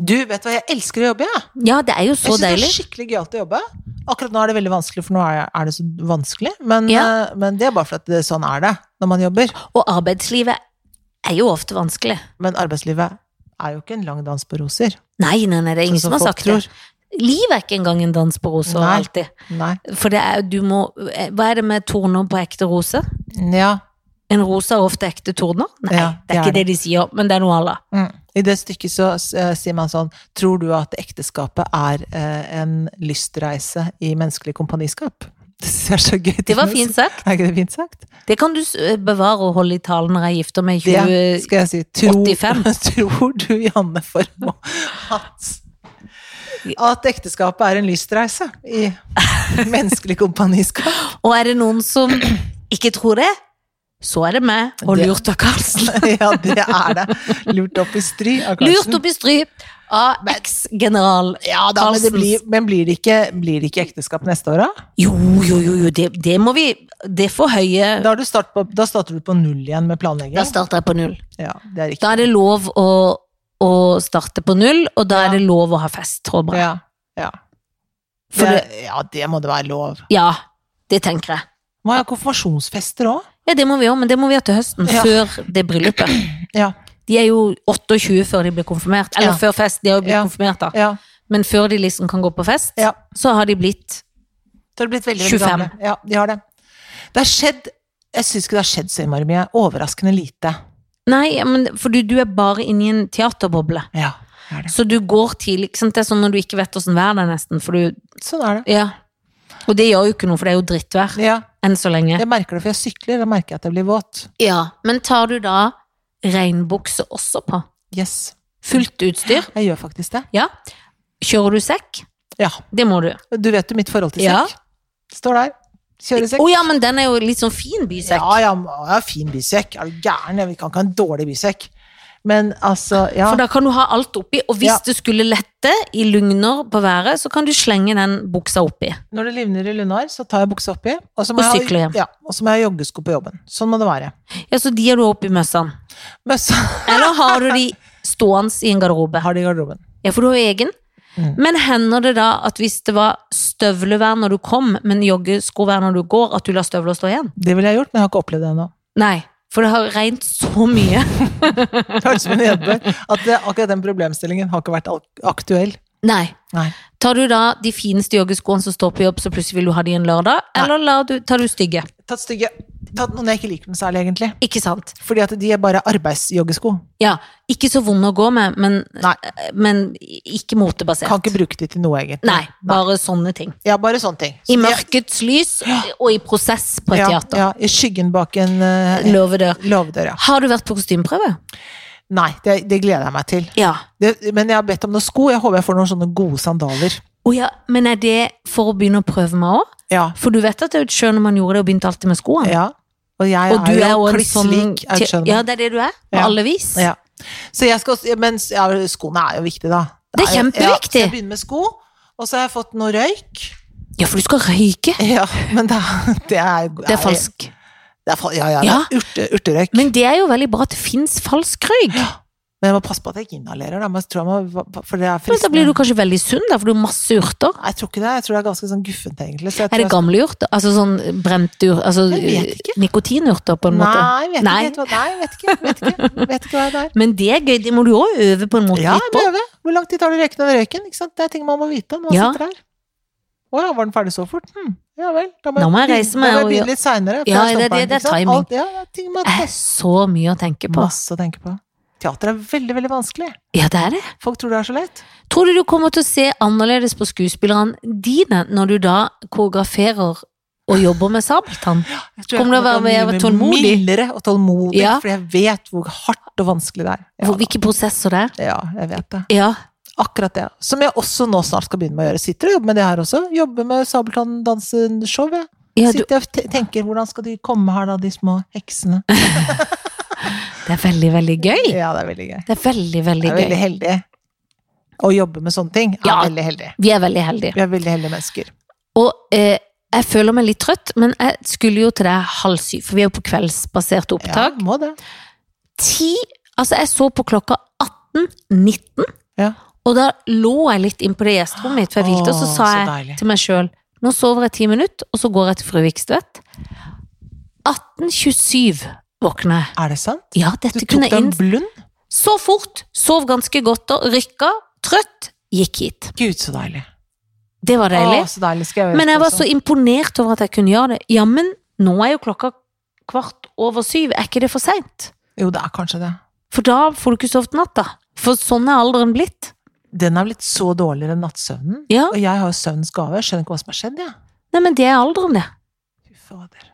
[SPEAKER 1] Du, vet du hva, jeg elsker å jobbe, jeg.
[SPEAKER 2] Ja, det er jo
[SPEAKER 1] Jeg
[SPEAKER 2] så
[SPEAKER 1] syns det er
[SPEAKER 2] deilig.
[SPEAKER 1] skikkelig gøyalt å jobbe. Akkurat nå er det veldig vanskelig, for nå er er det så vanskelig. Men,
[SPEAKER 2] Ja.
[SPEAKER 1] eh, men det er bare for at det, sånn er det når man jobber.
[SPEAKER 2] Og arbeidslivet er jo ofte vanskelig.
[SPEAKER 1] Men arbeidslivet er jo ikke en lang dans på roser.
[SPEAKER 2] Nei, nei, nei, det er ingen
[SPEAKER 1] sånn
[SPEAKER 2] som har
[SPEAKER 1] folk
[SPEAKER 2] sagt det. Livet er ikke engang en dans på roser
[SPEAKER 1] Nei.
[SPEAKER 2] alltid.
[SPEAKER 1] Nei.
[SPEAKER 2] For det er, du må Hva er det med torner på ekte rose?
[SPEAKER 1] Ja.
[SPEAKER 2] En rose er ofte ekte torner? Nei,
[SPEAKER 1] Ja,
[SPEAKER 2] det er ikke det de sier, men det er noe alle.
[SPEAKER 1] Mm. I det stykket så eh, sier man sånn Tror du at ekteskapet er eh, en lystreise i menneskelig kompaniskap? Det synes jeg er så gøy.
[SPEAKER 2] Det var fint sagt.
[SPEAKER 1] Er ikke det fint sagt?
[SPEAKER 2] Det kan du s- eh, bevare og holde i talen når jeg gifter meg i
[SPEAKER 1] Det
[SPEAKER 2] 20...
[SPEAKER 1] skal jeg si. Tror,
[SPEAKER 2] 85.
[SPEAKER 1] tror du, Janne Formoe, at, at ekteskapet er en lystreise i menneskelig kompaniskap?
[SPEAKER 2] Og er det noen som ikke tror det, så er det meg og
[SPEAKER 1] Det-
[SPEAKER 2] lurt av Karlsen.
[SPEAKER 1] ja, det er det. Lurt opp i stry av
[SPEAKER 2] Lurt
[SPEAKER 1] Karlsen.
[SPEAKER 2] opp i stry av eks-general
[SPEAKER 1] Ja, da, men, det
[SPEAKER 2] Karlsens.
[SPEAKER 1] blir, men blir det ikke, blir det ikke ekteskap neste år, da?
[SPEAKER 2] Jo, jo, jo, jo det, det må vi Det får høye
[SPEAKER 1] Da, har du start på, da starter du på null igjen med
[SPEAKER 2] Da
[SPEAKER 1] planlegging?
[SPEAKER 2] starter jeg på null.
[SPEAKER 1] Ja, det er riktig.
[SPEAKER 2] Da er det lov å, å starte på null, og da
[SPEAKER 1] Ja.
[SPEAKER 2] er det lov å ha fest, håper jeg.
[SPEAKER 1] Ja, ja.
[SPEAKER 2] For
[SPEAKER 1] det, ja, det må det være lov.
[SPEAKER 2] Ja, det tenker jeg.
[SPEAKER 1] Må jeg ha konfirmasjonsfester òg?
[SPEAKER 2] Ja, det må vi òg, men det må vi ha til høsten,
[SPEAKER 1] Ja.
[SPEAKER 2] før det bryllupet.
[SPEAKER 1] Ja,
[SPEAKER 2] De er jo 28 før de blir konfirmert, eller
[SPEAKER 1] Ja.
[SPEAKER 2] før fest, de har jo blitt
[SPEAKER 1] Ja.
[SPEAKER 2] konfirmert da.
[SPEAKER 1] ja,
[SPEAKER 2] Men før de liksom kan gå på fest,
[SPEAKER 1] ja.
[SPEAKER 2] så har de blitt
[SPEAKER 1] Så har det blitt veldig, veldig
[SPEAKER 2] 25.
[SPEAKER 1] gamle. Ja, de har det. Det har skjedd Jeg syns ikke det har skjedd så innmari mye. Overraskende lite.
[SPEAKER 2] Nei, ja, men for du, du er bare inni en teaterboble.
[SPEAKER 1] Ja, det er det.
[SPEAKER 2] Så du går tidlig, ikke sant? Det er sånn når du ikke vet hvordan været er nesten, for du,
[SPEAKER 1] Sånn er det.
[SPEAKER 2] ja. Og det gjør jo ikke noe, for det er jo drittvær,
[SPEAKER 1] Ja,
[SPEAKER 2] enn så lenge.
[SPEAKER 1] jeg merker det, for jeg sykler. Da merker jeg at jeg blir våt.
[SPEAKER 2] Ja, men tar du da regnbukse også på?
[SPEAKER 1] Yes.
[SPEAKER 2] Fullt utstyr?
[SPEAKER 1] Jeg gjør faktisk det.
[SPEAKER 2] Ja. Kjører du sekk?
[SPEAKER 1] Ja.
[SPEAKER 2] Det må du.
[SPEAKER 1] Du vet jo mitt forhold til
[SPEAKER 2] Ja.
[SPEAKER 1] sekk. Står der. Kjører
[SPEAKER 2] Å
[SPEAKER 1] sekk.
[SPEAKER 2] ja, men den er jo litt sånn fin bysekk.
[SPEAKER 1] Ja, ja, jeg har fin bysekk. Er du gæren? Vi kan ikke ha en dårlig bysekk. Men altså, ja.
[SPEAKER 2] For da kan du ha alt oppi, og hvis
[SPEAKER 1] Ja.
[SPEAKER 2] det skulle lette i lugner på været, så kan du slenge den buksa oppi.
[SPEAKER 1] Når det livner i lunar, så tar jeg buksa oppi. Og så
[SPEAKER 2] Og
[SPEAKER 1] må, jeg,
[SPEAKER 2] sykler
[SPEAKER 1] ha,
[SPEAKER 2] hjem.
[SPEAKER 1] ja, og så må jeg ha joggesko på jobben. Sånn må det være.
[SPEAKER 2] Ja, så de har du oppi møssene.
[SPEAKER 1] Møssa
[SPEAKER 2] Eller har du de stående i en garderobe?
[SPEAKER 1] har de i garderoben.
[SPEAKER 2] Ja, for du har jo egen.
[SPEAKER 1] Mm.
[SPEAKER 2] Men hender det da at hvis det var støvlevær når du kom, men joggeskovær når du går, at du lar støvler stå igjen?
[SPEAKER 1] Det ville jeg gjort, men jeg har ikke opplevd det ennå.
[SPEAKER 2] Nei, for det har regnet så mye.
[SPEAKER 1] Det høres ut som en nedbør at det, akkurat den problemstillingen har ikke vært ak- aktuell.
[SPEAKER 2] Nei.
[SPEAKER 1] Nei.
[SPEAKER 2] Tar du da de fineste joggeskoene som står på jobb, så plutselig vil du ha de en lørdag?
[SPEAKER 1] Nei.
[SPEAKER 2] Eller lar du, tar du stygge?
[SPEAKER 1] Tatt stygge Tatt noen jeg ikke liker noe særlig, egentlig.
[SPEAKER 2] Ikke sant?
[SPEAKER 1] Fordi at de er bare arbeidsjoggesko.
[SPEAKER 2] Ja, ikke så vonde å gå med, men,
[SPEAKER 1] Nei.
[SPEAKER 2] men ikke motebasert.
[SPEAKER 1] Kan ikke bruke de til noe, egentlig.
[SPEAKER 2] Nei, bare sånne ting.
[SPEAKER 1] Ja, bare sånne ting.
[SPEAKER 2] I
[SPEAKER 1] Så de er-
[SPEAKER 2] mørkets lys og i prosess på et
[SPEAKER 1] ja,
[SPEAKER 2] teater.
[SPEAKER 1] Ja, I skyggen bak en uh,
[SPEAKER 2] Lovedør.
[SPEAKER 1] låvedør, ja.
[SPEAKER 2] Har du vært på kostymeprøve?
[SPEAKER 1] Nei, det, det gleder jeg meg til.
[SPEAKER 2] Ja.
[SPEAKER 1] Det, men jeg har bedt om noen sko. Jeg håper jeg får noen sånne gode sandaler.
[SPEAKER 2] Å ja. Men er det for å begynne å prøve meg òg?
[SPEAKER 1] Ja.
[SPEAKER 2] For du vet at Audskjøn man gjorde det og begynte alltid med skoene?
[SPEAKER 1] Ja. Og jeg
[SPEAKER 2] Og du
[SPEAKER 1] er
[SPEAKER 2] er
[SPEAKER 1] jo
[SPEAKER 2] også en sånn
[SPEAKER 1] klisslik
[SPEAKER 2] te-
[SPEAKER 1] Audskjønman.
[SPEAKER 2] Ja, det er det du er. På
[SPEAKER 1] Ja.
[SPEAKER 2] alle vis.
[SPEAKER 1] Ja. Så jeg skal, også- men s- ja, skoene er jo viktig, da.
[SPEAKER 2] Det er
[SPEAKER 1] jo- Ja, så
[SPEAKER 2] kjempeviktig.
[SPEAKER 1] jeg begynner med sko, og så har jeg fått noe røyk.
[SPEAKER 2] Ja, for du skal røyke.
[SPEAKER 1] Ja, men det, det er
[SPEAKER 2] Det er falsk.
[SPEAKER 1] Det er fal ja, ja, det
[SPEAKER 2] Ja.
[SPEAKER 1] er urte, urterøyk. Men,
[SPEAKER 2] Men det er jo veldig bra at det fins falsk røyk.
[SPEAKER 1] jeg må passe på at jeg ikke inhalerer, da. Men jeg tror jeg må, for det er
[SPEAKER 2] Men da blir du
[SPEAKER 1] fristende.
[SPEAKER 2] kanskje veldig sunn, da, for du har masse urter.
[SPEAKER 1] Nei, Jeg tror ikke det. Jeg tror det er ganske sånn guffent, egentlig. Så jeg tror
[SPEAKER 2] Er det
[SPEAKER 1] jeg-
[SPEAKER 2] gamle urter? Altså sånn brente ur... Altså
[SPEAKER 1] Jeg vet ikke.
[SPEAKER 2] nikotinurter, på en måte.
[SPEAKER 1] Nei, vet
[SPEAKER 2] Nei.
[SPEAKER 1] ikke helt hva Nei, vet ikke. Vet ikke, vet ikke hva det er.
[SPEAKER 2] Men det er gøy, det må du òg øve på en måte
[SPEAKER 1] Ja,
[SPEAKER 2] litt
[SPEAKER 1] jeg
[SPEAKER 2] på.
[SPEAKER 1] må øve. Hvor lang tid tar det å røyke den røyken? Ikke sant? Det er ting man må vite når man
[SPEAKER 2] Ja.
[SPEAKER 1] sitter her. Å ja, var den ferdig så fort? Hm. Ja vel.
[SPEAKER 2] Da må jeg
[SPEAKER 1] begynne-
[SPEAKER 2] reise meg
[SPEAKER 1] Da må jeg
[SPEAKER 2] og gjøre-
[SPEAKER 1] begynne litt seinere.
[SPEAKER 2] Ja, det er det, det er timing.
[SPEAKER 1] Alt, ja, det er ting man
[SPEAKER 2] Det er så mye å tenke på.
[SPEAKER 1] Masse å tenke på. Teater er veldig, veldig vanskelig.
[SPEAKER 2] Ja, det er det.
[SPEAKER 1] Folk tror det er så lett.
[SPEAKER 2] Tror du du kommer til å se annerledes på skuespillerne dine når du da koreograferer og jobber med sabeltann?
[SPEAKER 1] Jeg tror jeg
[SPEAKER 2] Kommer det å
[SPEAKER 1] til
[SPEAKER 2] være
[SPEAKER 1] å
[SPEAKER 2] mer
[SPEAKER 1] mye
[SPEAKER 2] tålmodig?
[SPEAKER 1] Mildere og tålmodig,
[SPEAKER 2] Ja.
[SPEAKER 1] fordi jeg vet hvor hardt og vanskelig det er. Ja,
[SPEAKER 2] Hvor- Hvilke prosesser det er?
[SPEAKER 1] ja jeg vet det.
[SPEAKER 2] Ja.
[SPEAKER 1] Akkurat det. Som jeg også nå snart skal begynne med å gjøre. Sitter og jobber med det her også. Jobber med sabeltanndanseshow, jeg.
[SPEAKER 2] Ja, du,
[SPEAKER 1] Sitter og te- tenker hvordan skal de komme her, da, de små heksene.
[SPEAKER 2] det er veldig, veldig gøy.
[SPEAKER 1] Ja, det er veldig gøy.
[SPEAKER 2] Det er veldig,
[SPEAKER 1] Det
[SPEAKER 2] veldig
[SPEAKER 1] er veldig
[SPEAKER 2] gøy.
[SPEAKER 1] heldig. Å jobbe med sånne ting er
[SPEAKER 2] Ja.
[SPEAKER 1] veldig heldig.
[SPEAKER 2] Vi er veldig heldige.
[SPEAKER 1] Vi er veldig heldige mennesker.
[SPEAKER 2] Og eh, jeg føler meg litt trøtt, men jeg skulle jo til deg halv syv, for vi er jo på kveldsbasert
[SPEAKER 1] Ja,
[SPEAKER 2] opptak.
[SPEAKER 1] må det.
[SPEAKER 2] Ti, altså jeg så på klokka 18.19,
[SPEAKER 1] Ja.
[SPEAKER 2] og da lå jeg litt inn på det gjesterommet mitt, for jeg hvilte, og så
[SPEAKER 1] Åh,
[SPEAKER 2] sa jeg
[SPEAKER 1] deilig.
[SPEAKER 2] til meg sjøl nå sover jeg ti minutter, og så går jeg til fru Vikstvedt. 18.27 våkner jeg.
[SPEAKER 1] Er det sant?
[SPEAKER 2] Ja,
[SPEAKER 1] Du
[SPEAKER 2] dette
[SPEAKER 1] tok
[SPEAKER 2] kunne
[SPEAKER 1] deg
[SPEAKER 2] jeg
[SPEAKER 1] en
[SPEAKER 2] inn
[SPEAKER 1] blund?
[SPEAKER 2] så fort. Sov ganske godt og rykka. Trøtt. Gikk hit.
[SPEAKER 1] Gud, så deilig.
[SPEAKER 2] Det var deilig.
[SPEAKER 1] Å, så deilig skal jeg gjøre sånn?
[SPEAKER 2] Men jeg
[SPEAKER 1] det
[SPEAKER 2] var
[SPEAKER 1] også.
[SPEAKER 2] så imponert over at jeg kunne gjøre det. Jammen, nå er jo klokka kvart over syv, er ikke det for seint?
[SPEAKER 1] Jo, det er kanskje det.
[SPEAKER 2] For da får du ikke sovet natta. For sånn er alderen blitt.
[SPEAKER 1] Den er blitt så dårligere enn nattsøvnen.
[SPEAKER 2] Ja,
[SPEAKER 1] Og jeg har jo søvnens gave. Jeg skjønner ikke hva som har skjedd, jeg.
[SPEAKER 2] nei, men det er alderen, det.
[SPEAKER 1] Fy fader.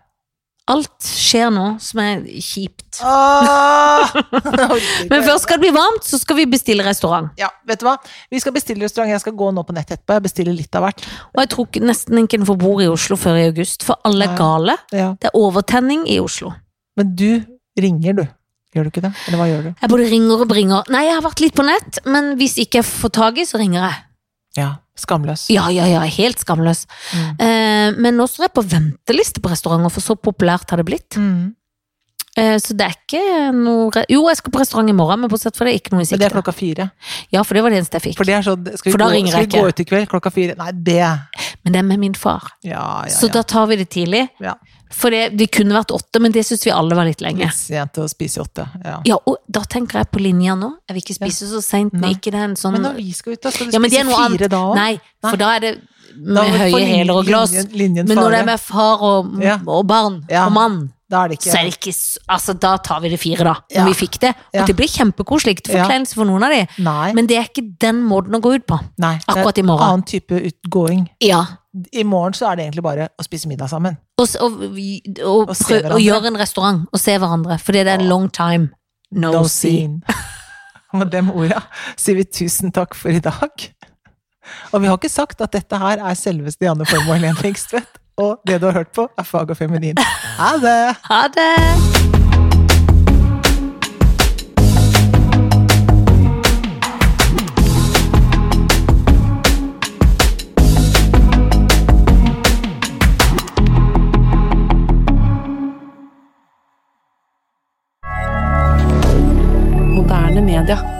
[SPEAKER 2] Alt skjer nå som er kjipt.
[SPEAKER 1] Åh! Jeg orker ikke.
[SPEAKER 2] Men først skal det bli varmt, så skal vi bestille restaurant.
[SPEAKER 1] Ja, vet du hva? Vi skal bestille restaurant. Jeg skal gå nå på nett etterpå. Jeg bestiller litt av hvert.
[SPEAKER 2] Og jeg tror ikke- nesten ikke en får bord i Oslo før i august, for alle
[SPEAKER 1] Nei.
[SPEAKER 2] er gale.
[SPEAKER 1] Ja.
[SPEAKER 2] Det er overtenning i Oslo.
[SPEAKER 1] Men du ringer, du. Gjør du ikke det? Eller hva gjør du?
[SPEAKER 2] Jeg både ringer og bringer. Nei, jeg har vært litt på nett, men hvis ikke jeg får tak i, så ringer jeg.
[SPEAKER 1] Ja. Skamløs.
[SPEAKER 2] Ja, ja, ja, helt skamløs.
[SPEAKER 1] Mm.
[SPEAKER 2] Eh, men nå står jeg på venteliste på restauranter, for så populært har det blitt.
[SPEAKER 1] Mm.
[SPEAKER 2] Eh, så det er ikke noe re Jo, jeg skal på restaurant i morgen, men bortsett fra det, ikke noe i
[SPEAKER 1] Men det er
[SPEAKER 2] sikte.
[SPEAKER 1] klokka fire.
[SPEAKER 2] Ja, for det var det eneste jeg fikk.
[SPEAKER 1] For det er sånn Skal vi,
[SPEAKER 2] For da
[SPEAKER 1] gå,
[SPEAKER 2] ringer
[SPEAKER 1] skal
[SPEAKER 2] jeg
[SPEAKER 1] vi gå
[SPEAKER 2] ikke.
[SPEAKER 1] ut i kveld klokka fire? Nei, det Ja,
[SPEAKER 2] Men det er med min far.
[SPEAKER 1] ja,
[SPEAKER 2] Så
[SPEAKER 1] ja.
[SPEAKER 2] da tar vi det tidlig.
[SPEAKER 1] Ja.
[SPEAKER 2] For det, det kunne vært åtte, men det syns vi alle var litt lenge.
[SPEAKER 1] Litt sent å spise i åtte. Ja.
[SPEAKER 2] Ja, og da tenker jeg på linja nå. Jeg vil ikke spise så seint, men
[SPEAKER 1] Nei.
[SPEAKER 2] ikke det er en sånn
[SPEAKER 1] Men når vi skal ut, da? Skal du
[SPEAKER 2] Ja, men det
[SPEAKER 1] spise
[SPEAKER 2] er noe
[SPEAKER 1] fire da òg?
[SPEAKER 2] Nei, for da er det
[SPEAKER 1] Da
[SPEAKER 2] med
[SPEAKER 1] får
[SPEAKER 2] høye
[SPEAKER 1] linjen-
[SPEAKER 2] hæler og glass.
[SPEAKER 1] linjen- linjen
[SPEAKER 2] Men når det er
[SPEAKER 1] farlig.
[SPEAKER 2] med far og,
[SPEAKER 1] Ja.
[SPEAKER 2] og barn
[SPEAKER 1] Ja.
[SPEAKER 2] og mann,
[SPEAKER 1] Da er det ikke
[SPEAKER 2] så er det ikke s- Altså, da tar vi det fire, da. Når
[SPEAKER 1] Ja.
[SPEAKER 2] vi fikk det. Og
[SPEAKER 1] Ja.
[SPEAKER 2] det blir kjempekoselig. til
[SPEAKER 1] Ja.
[SPEAKER 2] Forkleinelse for noen av de.
[SPEAKER 1] Nei.
[SPEAKER 2] Men det er ikke den måten å gå ut på.
[SPEAKER 1] nei. Det er
[SPEAKER 2] Akkurat i morgen.
[SPEAKER 1] annen type utgåing.
[SPEAKER 2] Ja.
[SPEAKER 1] I morgen så er det egentlig bare å spise middag sammen.
[SPEAKER 2] Og, s- og, vi- og,
[SPEAKER 1] Og se
[SPEAKER 2] prøv, og
[SPEAKER 1] hverandre.
[SPEAKER 2] gjøre en restaurant og se hverandre. For det er
[SPEAKER 1] Ja.
[SPEAKER 2] en long time. No,
[SPEAKER 1] No
[SPEAKER 2] see.
[SPEAKER 1] scene. Og Med dem orda sier vi tusen takk for i dag. Og vi har ikke sagt at dette her er selveste Janne Formoe og Helene Engstvedt. Og det du har hørt på, er Fag og Feminin. Ha det!
[SPEAKER 2] Ha det!
[SPEAKER 3] Moderne media.